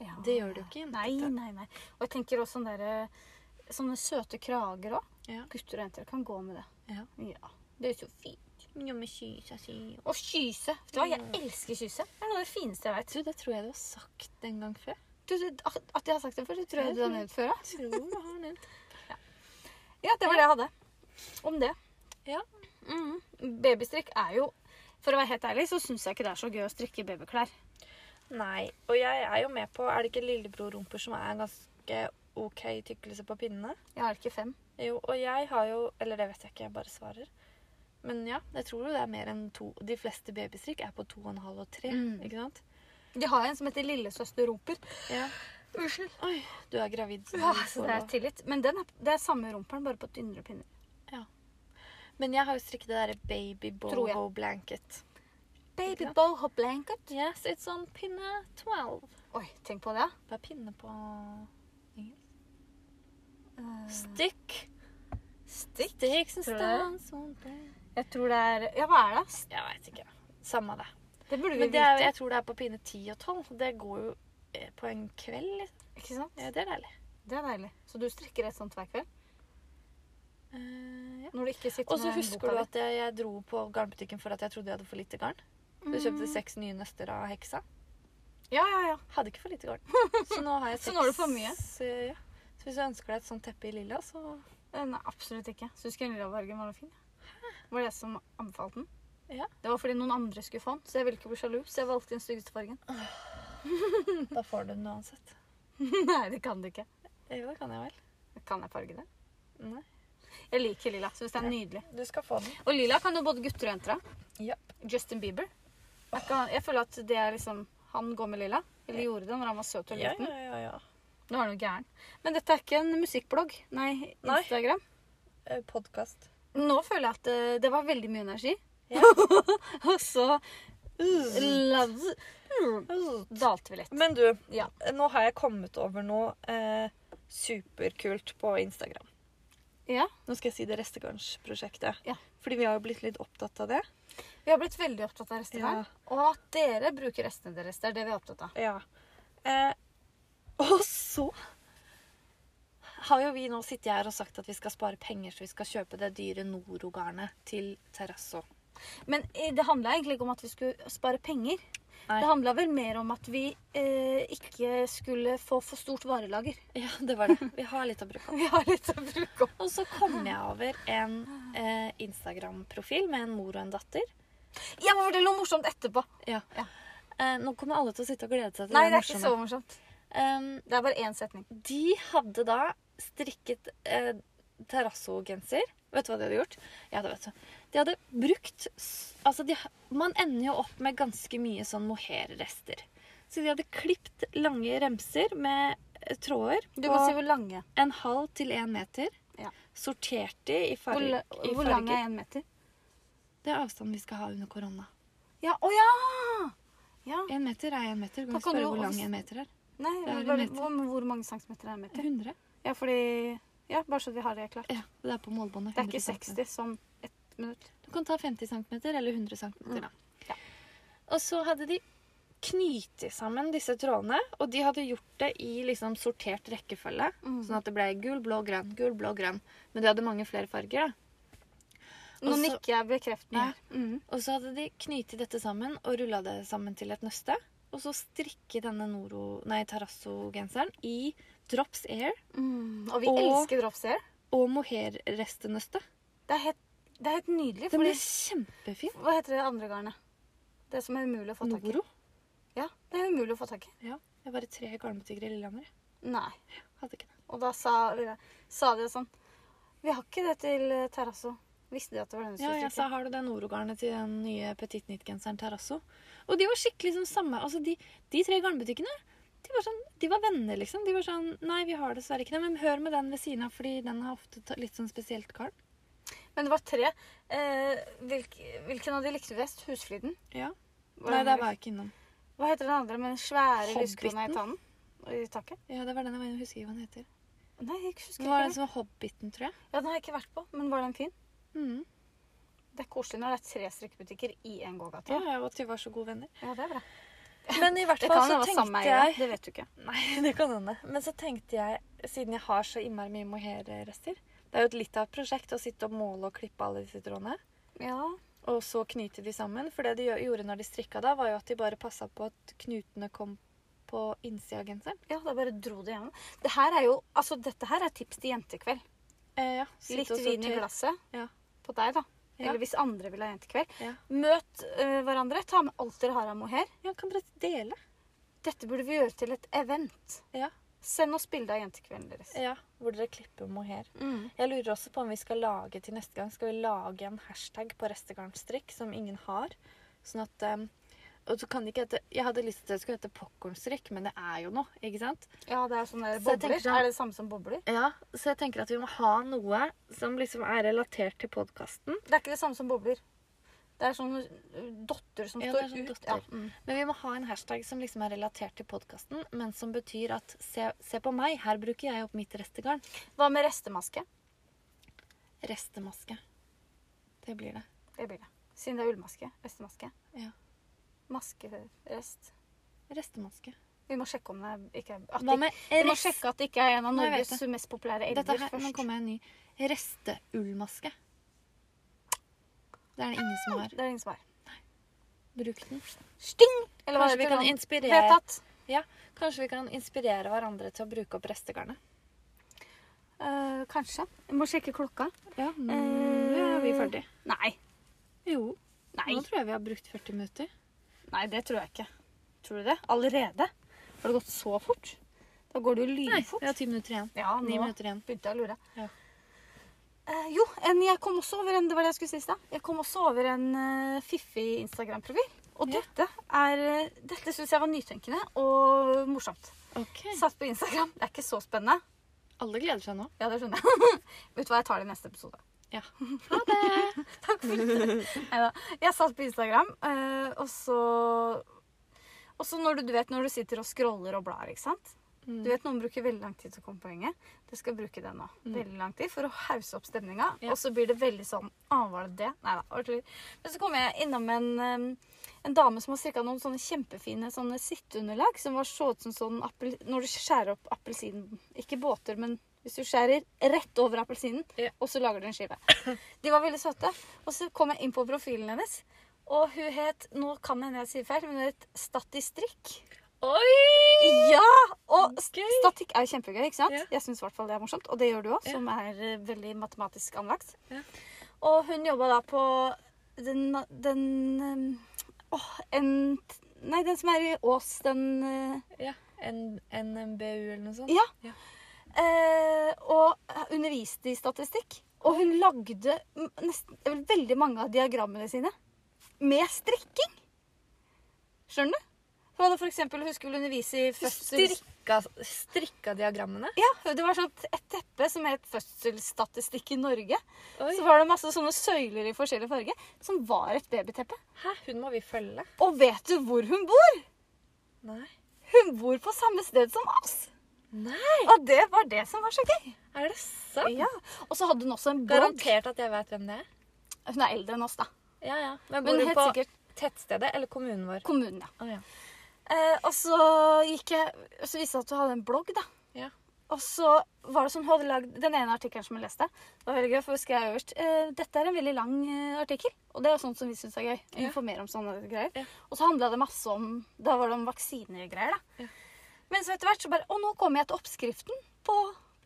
[SPEAKER 1] ja.
[SPEAKER 2] Det gjør det jo ikke
[SPEAKER 1] Nei,
[SPEAKER 2] jentete.
[SPEAKER 1] nei, nei. Og jeg tenker også sånne, der, eh, sånne søte krager òg.
[SPEAKER 2] Ja.
[SPEAKER 1] Gutter og jenter kan gå med det.
[SPEAKER 2] Ja.
[SPEAKER 1] Det er jo så fint.
[SPEAKER 4] Nummer 20.
[SPEAKER 1] Og kyse. Vet du hva, jeg elsker kyse. Det er noe av det fineste jeg vet.
[SPEAKER 4] Du, det tror jeg du har sagt en gang før.
[SPEAKER 1] Du, du, at at jeg har sagt det før, det tror jeg du har nevnt før. ja.
[SPEAKER 4] Tror du har nevnt.
[SPEAKER 1] Ja, det var det jeg hadde om det.
[SPEAKER 4] Ja.
[SPEAKER 1] Mhm. Babystrikk er jo For å være helt ærlig, så syns jeg ikke det er så gøy å strikke babyklær.
[SPEAKER 4] Nei.
[SPEAKER 2] Og jeg er jo med på Er det ikke lillebror-rumper som er ganske OK tykkelse på pinnene?
[SPEAKER 1] Jeg har ikke fem.
[SPEAKER 2] Jo, og jeg har jo Eller det vet jeg ikke, jeg bare svarer. Men ja, jeg tror jo det er mer enn to. De fleste babystrikk er på to og en halv og tre.
[SPEAKER 1] Mm.
[SPEAKER 2] Ikke sant?
[SPEAKER 1] De har en som heter Lillesøsterrumper.
[SPEAKER 2] Ja.
[SPEAKER 1] Unnskyld.
[SPEAKER 2] Oi, du er gravid. Ah, så
[SPEAKER 1] Ja,
[SPEAKER 2] du
[SPEAKER 1] Ah, så
[SPEAKER 2] får
[SPEAKER 1] det er
[SPEAKER 2] lov.
[SPEAKER 1] tillit. Men den er, det er samme rumperen, bare på tynnere pinner.
[SPEAKER 2] Men jeg har jo strikket det derre baby
[SPEAKER 1] Tror jeg.
[SPEAKER 2] boho blanket.
[SPEAKER 1] Baby
[SPEAKER 2] Ikke sant?
[SPEAKER 1] boho blanket.
[SPEAKER 2] Yes, it's on pinne 12.
[SPEAKER 1] Oi, tenk på det.
[SPEAKER 2] Hva er pinne på engelsk?
[SPEAKER 1] Eh,
[SPEAKER 2] Stick.
[SPEAKER 1] Stikk?
[SPEAKER 2] Sticks and
[SPEAKER 1] Tror du
[SPEAKER 2] stones. won't break.
[SPEAKER 1] Jeg tror det er Ja, hva er det? ass?
[SPEAKER 2] Jeg veit ikke. Samme det.
[SPEAKER 1] Det burde vi
[SPEAKER 2] Men det er,
[SPEAKER 1] vite.
[SPEAKER 2] jeg tror det er på pinne 10 og 12. Det går jo eh, på en kveld. liksom.
[SPEAKER 1] Ikke sant?
[SPEAKER 2] Ja, det er deilig.
[SPEAKER 1] Det er deilig. Så du strikker et sånt hver kveld?
[SPEAKER 2] Eh, ja.
[SPEAKER 1] Når du ikke sitter
[SPEAKER 2] Og så
[SPEAKER 1] med
[SPEAKER 2] husker du at jeg, jeg dro på garnbutikken for at jeg trodde jeg hadde for lite garn. Så jeg kjøpte seks nye nøster av heksa.
[SPEAKER 1] Ja, ja, ja.
[SPEAKER 2] Hadde ikke for lite
[SPEAKER 1] [LAUGHS]
[SPEAKER 2] garn. Så nå har jeg
[SPEAKER 1] Så
[SPEAKER 2] seks.
[SPEAKER 1] nå har du for mye.
[SPEAKER 2] Så, ja. så hvis du ønsker deg et sånt teppe i lilla, så
[SPEAKER 1] Eh, Nei, absolutt ikke. Syns Gunilla-fargen var noe fin. ja. Det var det som anbefalte den.
[SPEAKER 2] Ja.
[SPEAKER 1] Det var fordi noen andre skulle få den, så jeg ville ikke bli sjalu, så jeg valgte den styggeste fargen. [LAUGHS]
[SPEAKER 2] Da får du den uansett.
[SPEAKER 1] Nei, det kan du ikke.
[SPEAKER 2] Jo, det kan jeg vel.
[SPEAKER 1] Kan jeg farge det?
[SPEAKER 2] Nei.
[SPEAKER 1] Jeg liker lilla. Syns det er nydelig.
[SPEAKER 2] Du skal få den.
[SPEAKER 1] Og lilla kan jo både gutter og jenter ha.
[SPEAKER 2] Ja.
[SPEAKER 1] Justin Bieber. Jeg, kan, jeg føler at det er liksom Han går med lilla. Eller gjorde det når han var søt og
[SPEAKER 2] Ja,
[SPEAKER 1] liten.
[SPEAKER 2] ja, ja, ja.
[SPEAKER 1] Nå er han jo gæren. Men dette er ikke en musikkblogg. Nei,
[SPEAKER 2] Nei.
[SPEAKER 1] Instagram.
[SPEAKER 2] Eh, Podcast.
[SPEAKER 1] Nå føler jeg at eh, det var veldig mye energi. [LAUGHS]
[SPEAKER 2] [LAUGHS] Ja.
[SPEAKER 1] og så Love dalte vi litt.
[SPEAKER 2] Mm. Men du,
[SPEAKER 1] Ja.
[SPEAKER 2] nå har jeg kommet over noe eh, superkult på Instagram.
[SPEAKER 1] Ja.
[SPEAKER 2] Nå skal jeg si det restegarnsprosjektet.
[SPEAKER 1] Ja.
[SPEAKER 2] Fordi vi har jo blitt litt opptatt av det.
[SPEAKER 1] Vi har blitt veldig opptatt av restevern.
[SPEAKER 2] Ja.
[SPEAKER 1] Og at dere bruker restene deres. Det er det vi er opptatt av.
[SPEAKER 2] Ja. Eh, og så har jo vi nå sittet her og sagt at vi skal spare penger, så vi skal kjøpe det dyre Noro-garnet til Terrasso.
[SPEAKER 1] Men eh, det handla egentlig ikke om at vi skulle spare penger.
[SPEAKER 2] Nei.
[SPEAKER 1] Det handla vel mer om at vi eh, ikke skulle få for stort varelager. [LAUGHS]
[SPEAKER 2] Ja, [LAUGHS] det var det. Vi har litt å bruke opp.
[SPEAKER 1] Vi har litt å bruke opp.
[SPEAKER 2] Og så kom jeg over en eh, Instagram-profil med en mor og en datter.
[SPEAKER 1] Jeg må fortelle noe morsomt etterpå.
[SPEAKER 2] Ja.
[SPEAKER 1] Ja.
[SPEAKER 2] Eh, nå kommer alle til å sitte og glede seg til
[SPEAKER 1] Nei,
[SPEAKER 2] det
[SPEAKER 1] det er ikke så
[SPEAKER 2] morsomme.
[SPEAKER 1] morsomt.
[SPEAKER 2] Um,
[SPEAKER 1] Det er bare én setning.
[SPEAKER 2] de hadde da strikket eh, terrassogenser. Vet du hva de hadde gjort? Ja, det vet du. De hadde brukt s- Altså, de, ha- man ender jo opp med ganske mye sånn mohairrester. Så de hadde klipt lange remser med eh, tråder
[SPEAKER 1] Du
[SPEAKER 2] på
[SPEAKER 1] kan si hvor lange.
[SPEAKER 2] en halv til en meter.
[SPEAKER 1] Ja.
[SPEAKER 2] Sortert de i,
[SPEAKER 1] Hvor,
[SPEAKER 2] farg,
[SPEAKER 1] la-
[SPEAKER 2] i
[SPEAKER 1] hvor lang
[SPEAKER 2] farger.
[SPEAKER 1] er én meter?
[SPEAKER 2] Det er avstanden vi skal ha under korona.
[SPEAKER 1] Ja, å ja! Ja.
[SPEAKER 2] En meter er en meter. Du
[SPEAKER 1] Da
[SPEAKER 2] kan
[SPEAKER 1] kan
[SPEAKER 2] spørre
[SPEAKER 1] du
[SPEAKER 2] hvor lang
[SPEAKER 1] også-
[SPEAKER 2] en meter er.
[SPEAKER 1] Nei,
[SPEAKER 4] Det er
[SPEAKER 1] men
[SPEAKER 4] en
[SPEAKER 1] bare,
[SPEAKER 4] meter.
[SPEAKER 1] hvor, hvor mange centimeter er en meter?
[SPEAKER 4] 100?
[SPEAKER 1] Ja, fordi Ja, bare så vi har det klart.
[SPEAKER 4] Ja, det er på målbåndet.
[SPEAKER 1] Det er ikke
[SPEAKER 4] 100 centimeter.
[SPEAKER 1] 60 som ett minutt.
[SPEAKER 4] Du kan ta 50 cm eller 100 cm. da.
[SPEAKER 1] Mm. Ja.
[SPEAKER 4] Og så hadde de knyttet sammen disse trådene, og de hadde gjort det i liksom sortert rekkefølge.
[SPEAKER 1] Mm.
[SPEAKER 4] Sånn at det ble gul, blå, grønn, gul, blå, grønn. Men de hadde mange flere farger. da.
[SPEAKER 1] Nå
[SPEAKER 4] Og så-
[SPEAKER 1] nikker jeg bekreftende.
[SPEAKER 4] Ja.
[SPEAKER 1] her. Mhm.
[SPEAKER 4] Og så hadde de knyttet dette sammen og rulla det sammen til et nøste. Og så strikke denne Noro- nei, Tarasso-genseren i Drops Air
[SPEAKER 1] Mhm. Og vi
[SPEAKER 4] Og-
[SPEAKER 1] elsker dropsair.
[SPEAKER 4] og mohair-restenøste.
[SPEAKER 1] Det er helt, det er helt nydelig.
[SPEAKER 4] Den
[SPEAKER 1] Fordi,
[SPEAKER 4] ble kjempefin.
[SPEAKER 1] hva heter det andre garnet? Det som er umulig å få tak i.
[SPEAKER 4] Noro.
[SPEAKER 1] Ja, det er umulig å få tak i.
[SPEAKER 4] Ja. Jeg var i tre garnbutikker i Lillehammer.
[SPEAKER 1] Nei.
[SPEAKER 4] Hadde ikke det.
[SPEAKER 1] Og da sa, sa de sånn Vi har ikke det til eh, Terrasso. Visste de at det var denne
[SPEAKER 4] Ja, jeg sa har du det Noro-garnet til den nye Petit Nytt-genseren Terrasso? Og de var skikkelig sånn samme. Altså, de, de tre garnbutikkene, de var, sånn, de var venner, liksom. De var sånn Nei, vi har dessverre ikke det, men hør med den ved siden av, fordi den har ofte ta- litt sånn spesielt garn.
[SPEAKER 1] Men det var tre. Eh, hvilk, hvilken av de likte vi best? Husfliden?
[SPEAKER 4] Ja.
[SPEAKER 1] Var
[SPEAKER 4] Nei,
[SPEAKER 1] den
[SPEAKER 4] der
[SPEAKER 1] vi-
[SPEAKER 4] var jeg ikke innom.
[SPEAKER 1] Hva heter den andre med den svære
[SPEAKER 4] Hobbiten?
[SPEAKER 1] lyskona i tannen? I taket?
[SPEAKER 4] Ja, det var den jeg var innom. Husker ikke hva den heter.
[SPEAKER 1] Nei, jeg husker
[SPEAKER 4] Det
[SPEAKER 1] ikke.
[SPEAKER 4] var
[SPEAKER 1] det.
[SPEAKER 4] den som var Hobbiten, tror jeg.
[SPEAKER 1] Ja, Den har jeg ikke vært på, men var den fin?
[SPEAKER 4] Mm.
[SPEAKER 1] Det er koselig når det er tre strikkebutikker i en gågate.
[SPEAKER 4] Ja, ja, og at de var så gode
[SPEAKER 1] [LAUGHS]
[SPEAKER 4] venner.
[SPEAKER 1] Ja, det er bra.
[SPEAKER 2] Men i hvert
[SPEAKER 1] Det
[SPEAKER 2] fall
[SPEAKER 1] kan
[SPEAKER 2] så
[SPEAKER 1] jo være samme
[SPEAKER 2] tenkte
[SPEAKER 1] eier,
[SPEAKER 2] jeg
[SPEAKER 1] det vet du ikke.
[SPEAKER 4] [LAUGHS]
[SPEAKER 2] Nei, det kan hende. Men så tenkte jeg, siden jeg har så innmari mye mohairrester Det er jo et litt av et prosjekt å sitte og måle og klippe alle disse trådene.
[SPEAKER 1] Ja,
[SPEAKER 2] Og så knyte de sammen. For det de gjø- gjorde når de strikka da, var jo at de bare passa på at knutene kom på innsida av genseren.
[SPEAKER 1] Ja, da bare dro det gjennom. Det her er jo, altså, dette her er tips til jentekveld.
[SPEAKER 2] Eh, ja. sitte
[SPEAKER 1] Litt
[SPEAKER 2] og
[SPEAKER 1] vin i
[SPEAKER 2] sortere.
[SPEAKER 1] glasset
[SPEAKER 2] Ja.
[SPEAKER 1] på deg, da.
[SPEAKER 2] Ja.
[SPEAKER 1] Eller hvis andre vil ha jentekveld.
[SPEAKER 2] Ja.
[SPEAKER 1] Møt eh, hverandre. Ta med alt dere har av mohair.
[SPEAKER 2] Ja, kan dere dele?
[SPEAKER 1] Dette burde vi gjøre til et event.
[SPEAKER 2] Ja.
[SPEAKER 1] Send oss bilde av jentekvelden deres.
[SPEAKER 2] Ja, Hvor dere klipper mohair. Jeg lurer også på om vi skal lage til neste gang Skal vi lage en hashtag på restegarnstrikk som ingen har. Sånn at eh, Og så kan det ikke hete Jeg hadde lyst til at det skulle hete popkornstrikk, men det er jo noe, ikke sant?
[SPEAKER 1] Ja, det er jo sånne
[SPEAKER 2] Så jeg
[SPEAKER 1] bobler.
[SPEAKER 2] tenker sånn-
[SPEAKER 1] Er det det samme som bobler?
[SPEAKER 2] Ja, Så jeg tenker at vi må ha noe som liksom er relatert til podkasten.
[SPEAKER 1] Det er ikke det samme som bobler. Det er sånne uh, dotter som
[SPEAKER 2] Ja, det
[SPEAKER 1] står
[SPEAKER 2] er sånn
[SPEAKER 1] ut.
[SPEAKER 2] dotter.
[SPEAKER 1] mm.
[SPEAKER 2] Men vi må ha en hashtag som liksom er relatert til podkasten, men som betyr at se, se på meg, her bruker jeg opp mitt restegarn.
[SPEAKER 1] Hva med restemaske?
[SPEAKER 2] Restemaske. Det blir det.
[SPEAKER 1] Det blir det. Siden det er ullmaske. Restemaske.
[SPEAKER 2] Ja.
[SPEAKER 1] Maskerest.
[SPEAKER 2] Restemaske.
[SPEAKER 1] Vi må sjekke om det ikke er at
[SPEAKER 2] Hva
[SPEAKER 1] det
[SPEAKER 2] med
[SPEAKER 1] Vi må
[SPEAKER 2] rest...
[SPEAKER 1] sjekke at det ikke er en av
[SPEAKER 2] Nei, jeg vet
[SPEAKER 1] Norges mest populære elger
[SPEAKER 2] Dette her, nå
[SPEAKER 1] først.
[SPEAKER 2] kommer jeg en ny. Resteullmaske. Det er det ingen som har
[SPEAKER 1] Det er ingen som har.
[SPEAKER 2] brukt den.
[SPEAKER 1] Sting! Eller hva
[SPEAKER 2] Kanskje vi
[SPEAKER 1] heter
[SPEAKER 2] kan
[SPEAKER 1] det?
[SPEAKER 2] inspirere,
[SPEAKER 1] Vedtatt.
[SPEAKER 2] kanskje vi kan inspirere hverandre til å bruke opp restegarnet.
[SPEAKER 1] Eh, kanskje. Jeg må sjekke klokka.
[SPEAKER 2] Ja, nå er vi ferdig.
[SPEAKER 1] Nei.
[SPEAKER 2] Jo,
[SPEAKER 1] Nei.
[SPEAKER 2] nå tror jeg vi har brukt 40 minutter.
[SPEAKER 1] Nei, det tror jeg ikke. Tror du det? Allerede? Har det gått så fort? Da går det jo
[SPEAKER 2] Nei,
[SPEAKER 1] lynfort.
[SPEAKER 2] vi har 10 minutter igjen.
[SPEAKER 1] Ja,
[SPEAKER 2] 9
[SPEAKER 1] nå
[SPEAKER 2] minutter igjen.
[SPEAKER 1] begynte jeg å lure.
[SPEAKER 2] Ja.
[SPEAKER 1] Eh, jo, en, jeg kom også over en Det var det jeg skulle si i stad. Jeg kom også over en eh, fiffig Instagram-profil. Og
[SPEAKER 2] Ja.
[SPEAKER 1] dette er eh, Dette syns jeg var nytenkende og morsomt.
[SPEAKER 2] Ok.
[SPEAKER 1] Satt på Instagram. Det er ikke så spennende.
[SPEAKER 2] Alle gleder seg nå.
[SPEAKER 1] Ja, det skjønner jeg. [LAUGHS] Vet du hva, jeg tar det i neste episode.
[SPEAKER 2] Ja.
[SPEAKER 1] Ha det! Takk for det. Neida. Jeg satt på Instagram, eh, og så Og så når du, du vet når du sitter og scroller og blar, ikke sant?
[SPEAKER 2] Mm.
[SPEAKER 1] Du vet noen bruker veldig lang tid til å komme på poenget. Det skal bruke det nå. Veldig lang tid For å hause opp stemninga.
[SPEAKER 2] Mm. Ja.
[SPEAKER 1] Og så blir det veldig sånn Å, var det det? Nei da. var det tull. Men så kom jeg innom en, em, en dame som har strikka noen sånne kjempefine sånne sitteunderlag som var så ut som sånn appel, Når du skjærer opp appelsinen Ikke båter, men hvis du skjærer rett over appelsinen,
[SPEAKER 2] Ja.
[SPEAKER 1] og så lager du en skive. De var veldig søte. Og så kom jeg inn på profilen hennes, og hun het Nå kan det hende jeg sier feil, men hun het Statistrikk.
[SPEAKER 2] Oi!
[SPEAKER 1] Ja! Og st-
[SPEAKER 2] Gøy.
[SPEAKER 1] statikk er jo kjempegøy, ikke sant?
[SPEAKER 2] Ja.
[SPEAKER 1] Jeg syns i hvert fall det er morsomt. Og det gjør du òg,
[SPEAKER 2] Ja.
[SPEAKER 1] som er eh, veldig matematisk anlagt.
[SPEAKER 2] Ja.
[SPEAKER 1] Og hun jobba da på den, den eh, Åh, en Nei, den som er i Ås, den eh,
[SPEAKER 2] Ja, en NMBU eller noe sånt.
[SPEAKER 1] sånn? Ja. eh, Og underviste i statistikk. Og hun lagde m- nesten, vel, veldig mange av diagrammene sine med strikking. Skjønner du? Hun hadde for eksempel, hun skulle undervise i fødsels...
[SPEAKER 2] Strikka, strikka diagrammene.
[SPEAKER 1] Ja, det var sånn et teppe som het Fødselsstatistikk i Norge.
[SPEAKER 2] Oi.
[SPEAKER 1] Så var det masse sånne søyler i forskjellig farge som var et babyteppe.
[SPEAKER 2] Hæ, hun må vi følge.
[SPEAKER 1] Og vet du hvor hun bor?
[SPEAKER 2] Nei.
[SPEAKER 1] Hun bor på samme sted som oss!
[SPEAKER 2] Nei,
[SPEAKER 1] Og det var det som var så gøy.
[SPEAKER 2] er det sant?
[SPEAKER 1] Ja. Og så hadde hun også en blogg.
[SPEAKER 2] Garantert at jeg vet hvem det er.
[SPEAKER 1] Hun er eldre enn oss, da.
[SPEAKER 2] Ja, ja. Men bor
[SPEAKER 1] Men
[SPEAKER 2] du
[SPEAKER 1] helt
[SPEAKER 2] på
[SPEAKER 1] sikkert
[SPEAKER 2] tettstedet eller kommunen vår?
[SPEAKER 1] kommunen, ja.
[SPEAKER 2] Å, ja.
[SPEAKER 1] Eh, og så gikk jeg Så viste det seg at hun hadde en blogg, da.
[SPEAKER 2] Ja.
[SPEAKER 1] Og så var det sånn, hun hadde lagd Den ene artikkelen som jeg leste, det var veldig gøy, for hun skrev øverst eh, Dette er en veldig lang eh, artikkel, og det er jo sånt som vi syns er gøy. å
[SPEAKER 2] Ja.
[SPEAKER 1] Informere om sånne greier.
[SPEAKER 2] Ja.
[SPEAKER 1] Og så handla det masse om Da var det om vaksiner og greier, da.
[SPEAKER 2] Ja.
[SPEAKER 1] Men så etter hvert så bare Og nå kommer jeg til oppskriften på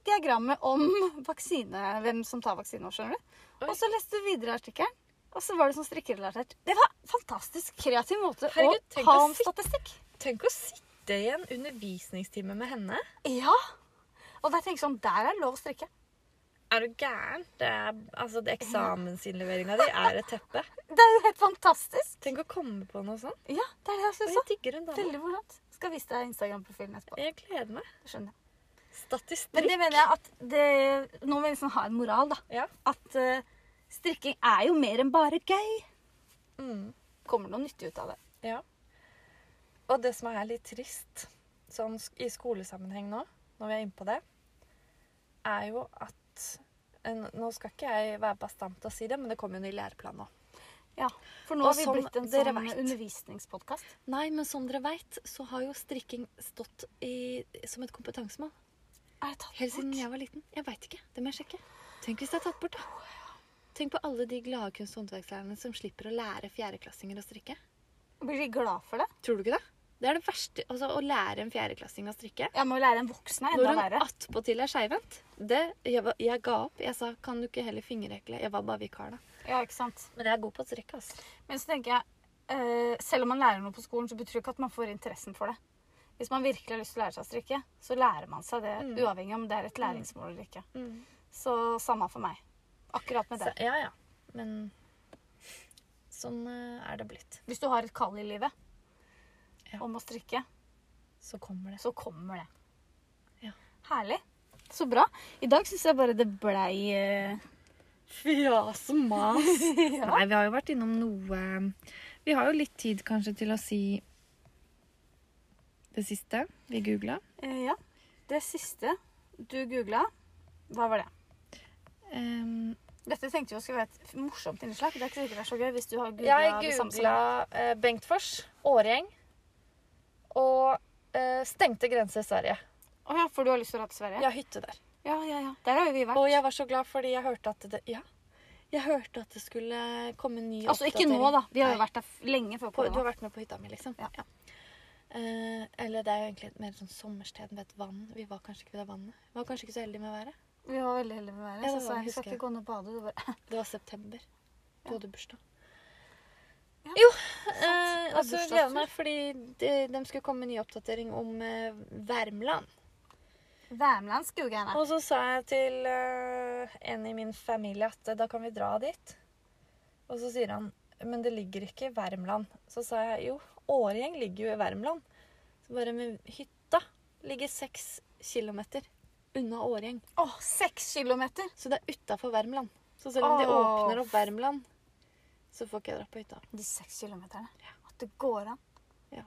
[SPEAKER 1] diagrammet om [LAUGHS] vaksine, hvem som tar vaksine nå, skjønner du.
[SPEAKER 2] Oi.
[SPEAKER 1] Og så leste du videre artikkelen, og så var det sånn strikkerelatert. Det var en fantastisk kreativ måte
[SPEAKER 2] Herregud,
[SPEAKER 1] å
[SPEAKER 2] tenk
[SPEAKER 1] ha
[SPEAKER 2] å
[SPEAKER 1] om
[SPEAKER 2] sitte-
[SPEAKER 1] statistikk.
[SPEAKER 2] Tenk å sitte i en undervisningstime med henne.
[SPEAKER 1] Ja. Og der tenker jeg sånn, der er det lov å strikke.
[SPEAKER 2] Er du gæren? Det er, altså, det Eksamensinnleveringa di er et teppe.
[SPEAKER 1] Det er jo helt fantastisk.
[SPEAKER 2] Tenk å komme på noe sånt.
[SPEAKER 1] Ja, det er det jeg
[SPEAKER 2] Og
[SPEAKER 1] syns
[SPEAKER 2] jeg
[SPEAKER 1] òg.
[SPEAKER 2] digger hun dama.
[SPEAKER 1] Veldig morsomt. Skal vise deg Instagram-profilen etterpå.
[SPEAKER 2] Jeg gleder meg.
[SPEAKER 1] Det skjønner jeg. Men
[SPEAKER 2] Statistikk.
[SPEAKER 1] det mener jeg at det, nå må vi liksom ha en moral, da.
[SPEAKER 2] Ja.
[SPEAKER 1] At eh, strikking er jo mer enn bare gøy.
[SPEAKER 2] Mm.
[SPEAKER 1] Kommer noe nyttig ut av det.
[SPEAKER 2] Ja. Og det som er litt trist sånn sk- i skolesammenheng nå, når vi er inne på det, er jo at en, Nå skal ikke jeg være bastant og si det, men det kommer jo en ny læreplan nå.
[SPEAKER 1] Ja, For nå
[SPEAKER 2] Og
[SPEAKER 1] har vi
[SPEAKER 2] sånn-
[SPEAKER 1] blitt en
[SPEAKER 2] dere
[SPEAKER 1] sånn
[SPEAKER 2] vet.
[SPEAKER 1] undervisningspodkast.
[SPEAKER 2] Nei, men som dere veit, så har jo strikking stått i, som et kompetansemål
[SPEAKER 1] Er det tatt
[SPEAKER 2] helt siden
[SPEAKER 1] bort?
[SPEAKER 2] jeg var liten. Jeg veit ikke. Det må jeg sjekke. Tenk hvis det er tatt bort, da. Tenk på alle de glade kunst- og håndverkslærerne som slipper å lære fjerdeklassinger å strikke.
[SPEAKER 1] Blir de glad for det?
[SPEAKER 2] Tror du ikke det? Det er det verste altså, å lære en fjerdeklassing å strikke.
[SPEAKER 1] Jeg må jo lære en voksen er
[SPEAKER 2] Når
[SPEAKER 1] enda
[SPEAKER 2] hun
[SPEAKER 1] verre.
[SPEAKER 2] attpåtil er skeivhendt. Det- Jeg, var- jeg ga opp. Jeg sa 'kan du ikke heller fingerhekle'? Jeg var bare vikar da.
[SPEAKER 1] Ja, ikke sant?
[SPEAKER 2] Men jeg er god på å strikke. altså.
[SPEAKER 1] Men så tenker jeg, eh, selv om man lærer noe på skolen, så betyr det ikke at man får interessen for det. Hvis man virkelig har lyst til å lære seg å strikke, så lærer man seg det
[SPEAKER 2] Mm.
[SPEAKER 1] uavhengig om det er et læringsmål eller ikke. Så samme for meg. Akkurat med
[SPEAKER 2] Så,
[SPEAKER 1] det.
[SPEAKER 2] ja, ja. Men sånn eh, er det blitt.
[SPEAKER 1] Hvis du har et kall i livet
[SPEAKER 2] Ja.
[SPEAKER 1] om å strikke,
[SPEAKER 2] Så kommer det.
[SPEAKER 1] så kommer det.
[SPEAKER 2] Ja.
[SPEAKER 1] Herlig. Så bra. I dag syns jeg bare det blei eh,
[SPEAKER 2] Fjas og [LAUGHS] mas.
[SPEAKER 1] ja.
[SPEAKER 2] Nei, vi har jo vært innom noe eh, Vi har jo litt tid kanskje til å si det siste vi googla.
[SPEAKER 1] Eh, ja. Det siste du googla, hva var det? Ehm,
[SPEAKER 2] Um,
[SPEAKER 1] Dette tenkte vi skulle være et morsomt innslag. Det er ikke sikkert det er så gøy hvis du har googla
[SPEAKER 2] jeg
[SPEAKER 1] det samme som
[SPEAKER 2] googla eh, Bengtfors, Årgjeng og eh, stengte grense i Sverige.
[SPEAKER 1] Å ja, for du har lyst til å dra til Sverige?
[SPEAKER 2] Jeg har hytte der.
[SPEAKER 1] ja, ja. ja. Der har jo vi vært.
[SPEAKER 2] Og jeg var så glad fordi jeg hørte at det Ja. Jeg hørte at det skulle komme en ny
[SPEAKER 1] altså ikke nå, da. Vi har jo
[SPEAKER 2] Nei.
[SPEAKER 1] vært der f- lenge før
[SPEAKER 2] På, du
[SPEAKER 1] korona.
[SPEAKER 2] har vært med på hytta mi, liksom?
[SPEAKER 1] Ja.
[SPEAKER 2] Eh, eller det er jo egentlig et mer sånn sommersted med et vann. Vi var kanskje ikke ved det vannet. Vi var kanskje ikke så heldige med været.
[SPEAKER 1] Vi var veldig heldige med været.
[SPEAKER 2] Ja, det
[SPEAKER 1] så
[SPEAKER 2] var
[SPEAKER 1] sa
[SPEAKER 2] det,
[SPEAKER 1] jeg vi skal
[SPEAKER 2] husker jeg.
[SPEAKER 1] ikke gå ned og bade. Du bare
[SPEAKER 2] Det var september. Du
[SPEAKER 1] Ja.
[SPEAKER 2] hadde bursdag.
[SPEAKER 1] Ja,
[SPEAKER 2] Jo!
[SPEAKER 1] Det
[SPEAKER 2] Eh,
[SPEAKER 1] var
[SPEAKER 2] og så
[SPEAKER 1] bursdagstur.
[SPEAKER 2] gleder jeg meg fordi de, de skulle komme med en ny oppdatering om eh, Värmland.
[SPEAKER 1] Värmland skulle jeg gjerne.
[SPEAKER 2] Og så sa jeg til eh, en i min familie at eh, da kan vi dra dit. Og så sier han men det ligger ikke i Värmland. Så sa jeg jo, Årgjeng ligger jo i Värmland. Så bare med hytta ligger seks kilometer unna Årgjeng.
[SPEAKER 1] Å, seks kilometer!
[SPEAKER 2] Så det er utafor Värmland. Så selv om de
[SPEAKER 1] Åh.
[SPEAKER 2] åpner opp Värmland, så får ikke jeg dra på hytta.
[SPEAKER 1] De seks kilometerne. At det går an.
[SPEAKER 2] Ja.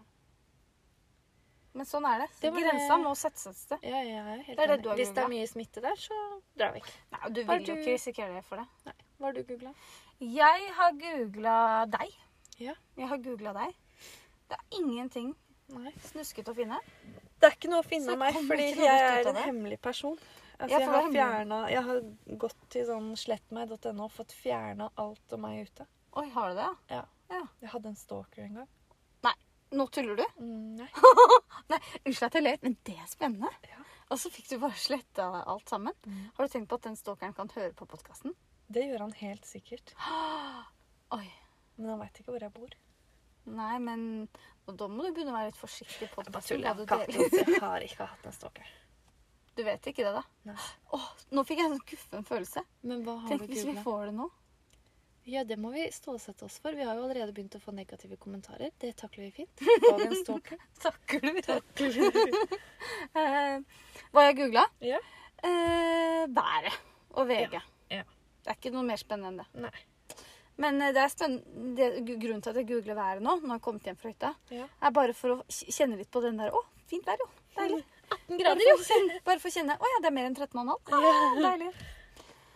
[SPEAKER 1] Men sånn er det.
[SPEAKER 2] Det var det-
[SPEAKER 1] Grensa må settes et sted.
[SPEAKER 2] Ja, ja, jeg er helt
[SPEAKER 1] Det er det
[SPEAKER 2] enig.
[SPEAKER 1] du har
[SPEAKER 2] Hvis det er
[SPEAKER 1] googlet.
[SPEAKER 2] mye smitte der, så drar vi ikke.
[SPEAKER 1] Nei, Du
[SPEAKER 2] Har
[SPEAKER 1] vil jo
[SPEAKER 2] du-
[SPEAKER 1] ikke risikere det for det.
[SPEAKER 2] Nei. Hva har du googla?
[SPEAKER 1] Jeg har googla deg.
[SPEAKER 2] Ja.
[SPEAKER 1] Jeg har googla deg. Det er ingenting
[SPEAKER 2] Nei.
[SPEAKER 1] snuskete å finne.
[SPEAKER 2] Det er ikke noe å finne
[SPEAKER 1] Så
[SPEAKER 2] av meg,
[SPEAKER 1] kommer
[SPEAKER 2] fordi
[SPEAKER 1] ikke noe
[SPEAKER 2] jeg
[SPEAKER 1] godt ut av
[SPEAKER 2] er en
[SPEAKER 1] det.
[SPEAKER 2] hemmelig person. Altså,
[SPEAKER 1] Ja,
[SPEAKER 2] jeg,
[SPEAKER 1] for
[SPEAKER 2] har
[SPEAKER 1] det er hemmelig.
[SPEAKER 2] fjernet, jeg har gått til sånn slettmeg.no og fått fjerna alt om meg ute.
[SPEAKER 1] Oi, har du det? ja?
[SPEAKER 2] Jeg hadde en stalker en gang.
[SPEAKER 1] Nå tuller du? [LAUGHS]
[SPEAKER 2] Mm, nei.
[SPEAKER 1] Nei, unnskyld at jeg løy, men det er spennende.
[SPEAKER 2] Ja.
[SPEAKER 1] Og så fikk du bare sletta alt sammen.
[SPEAKER 2] Mm.
[SPEAKER 1] Har du tenkt på at den stalkeren kan høre på podkasten?
[SPEAKER 2] Det gjør han helt sikkert.
[SPEAKER 1] [GASPS] Oi.
[SPEAKER 2] Men han veit ikke hvor jeg bor.
[SPEAKER 1] Nei, men og da må du begynne å være litt forsiktig på podkasten.
[SPEAKER 2] Jeg har ikke hatt en- jeg har ikke hatt en stalker.
[SPEAKER 1] Du vet ikke det, da?
[SPEAKER 2] Nei.
[SPEAKER 1] Åh, nå fikk jeg en sånn guffen følelse.
[SPEAKER 2] Men hva har
[SPEAKER 1] Tenk
[SPEAKER 2] du
[SPEAKER 1] hvis vi
[SPEAKER 2] googla?
[SPEAKER 1] får
[SPEAKER 2] [LAUGHS]
[SPEAKER 1] det nå.
[SPEAKER 2] Ja, det må vi stålsette oss for. Vi har jo allerede begynt å få negative kommentarer. Det takler
[SPEAKER 1] [LAUGHS]
[SPEAKER 2] vi fint. Får vi en stalker?
[SPEAKER 1] Takker du. [LAUGHS] Eh, hva jeg googla?
[SPEAKER 2] Ja.
[SPEAKER 1] Eh, været og VG.
[SPEAKER 2] Ja.
[SPEAKER 1] Det er ikke noe mer spennende enn det.
[SPEAKER 2] Nei.
[SPEAKER 1] Men eh, det er spenn- det, gu- grunnen til at jeg googler været nå, når jeg har kommet hjem fra hytta,
[SPEAKER 2] Ja.
[SPEAKER 1] er bare for å kj- kjenne litt på den der Å, fint vær, jo. Deilig.
[SPEAKER 2] Mm, Grader,
[SPEAKER 1] Bare for å kjenne- Bare for å kjenne Å ja, det er mer enn 13,5. Ah, [LAUGHS] deilig.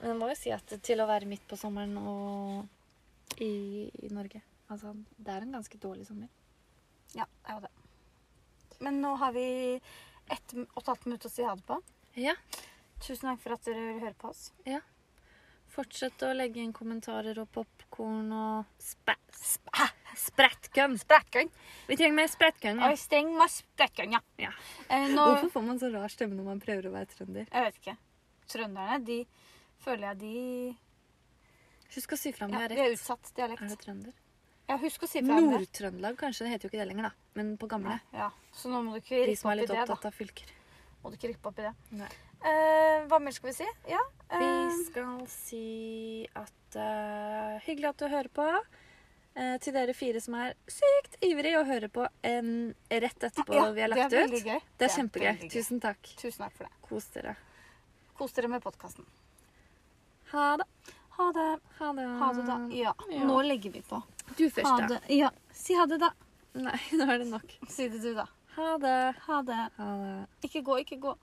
[SPEAKER 2] Men jeg må jo si at til å være midt på sommeren og i, i Norge Altså, det er en ganske dårlig sommer.
[SPEAKER 1] Ja, det er jo det. Men nå har vi ett m- og et halvt minutt å si ha det på.
[SPEAKER 2] Ja.
[SPEAKER 1] Tusen takk for at dere hører på oss.
[SPEAKER 2] Fortsett å legge inn kommentarer og popkorn og spa- sp-
[SPEAKER 1] Hæ?
[SPEAKER 2] sprettgun.
[SPEAKER 1] Sprettgang.
[SPEAKER 2] Vi trenger mer sprettgun.
[SPEAKER 1] Oi, steng meg sprettgang, ja.
[SPEAKER 2] Mm. Ja.
[SPEAKER 1] Eh, nå,
[SPEAKER 2] Hvorfor får man så rar stemme når man prøver å være trønder?
[SPEAKER 1] jeg vet ikke. Trønderne, de føler jeg de
[SPEAKER 2] Husk å si fra om
[SPEAKER 1] ja,
[SPEAKER 2] jeg har
[SPEAKER 1] De er
[SPEAKER 2] rett.
[SPEAKER 1] utsatt
[SPEAKER 2] Er det
[SPEAKER 1] dialekt.
[SPEAKER 2] trønder?
[SPEAKER 1] Ja, husk å si fra om det.
[SPEAKER 2] Nord-Trøndelag, kanskje. Det heter jo ikke det lenger, da. Men på gamle.
[SPEAKER 1] Ja, så nå må du ikke
[SPEAKER 2] De
[SPEAKER 1] rippe
[SPEAKER 2] som er
[SPEAKER 1] opp i
[SPEAKER 2] litt
[SPEAKER 1] det, da.
[SPEAKER 2] opptatt av fylker.
[SPEAKER 1] Må du ikke rippe opp i det.
[SPEAKER 2] Nei.
[SPEAKER 1] Eh, hva mer skal vi si? Ja. eh,
[SPEAKER 2] Vi skal si at eh, Hyggelig at du hører på. Eh, til dere fire som er sykt ivrig å høre på en rett etterpå
[SPEAKER 1] ja,
[SPEAKER 2] vi har
[SPEAKER 1] det er
[SPEAKER 2] lagt
[SPEAKER 1] veldig
[SPEAKER 2] ut.
[SPEAKER 1] Gøy.
[SPEAKER 2] Det er kjempegøy.
[SPEAKER 1] veldig gøy.
[SPEAKER 2] Tusen takk.
[SPEAKER 1] Tusen takk for det.
[SPEAKER 2] Kos dere.
[SPEAKER 1] Kos dere med podkasten.
[SPEAKER 2] Ha det.
[SPEAKER 1] Ha det.
[SPEAKER 2] Ha det.
[SPEAKER 1] Ha det, da. Ja.
[SPEAKER 2] Ja.
[SPEAKER 1] Nå legger vi på.
[SPEAKER 2] Du først,
[SPEAKER 1] Ha
[SPEAKER 2] da.
[SPEAKER 1] det. Ja. Si ha det, da.
[SPEAKER 2] Nei, [LAUGHS] nå er det nok.
[SPEAKER 1] Si det du, da.
[SPEAKER 2] Ha det.
[SPEAKER 1] Ha det.
[SPEAKER 2] Ha det.
[SPEAKER 1] Ikke gå, ikke gå.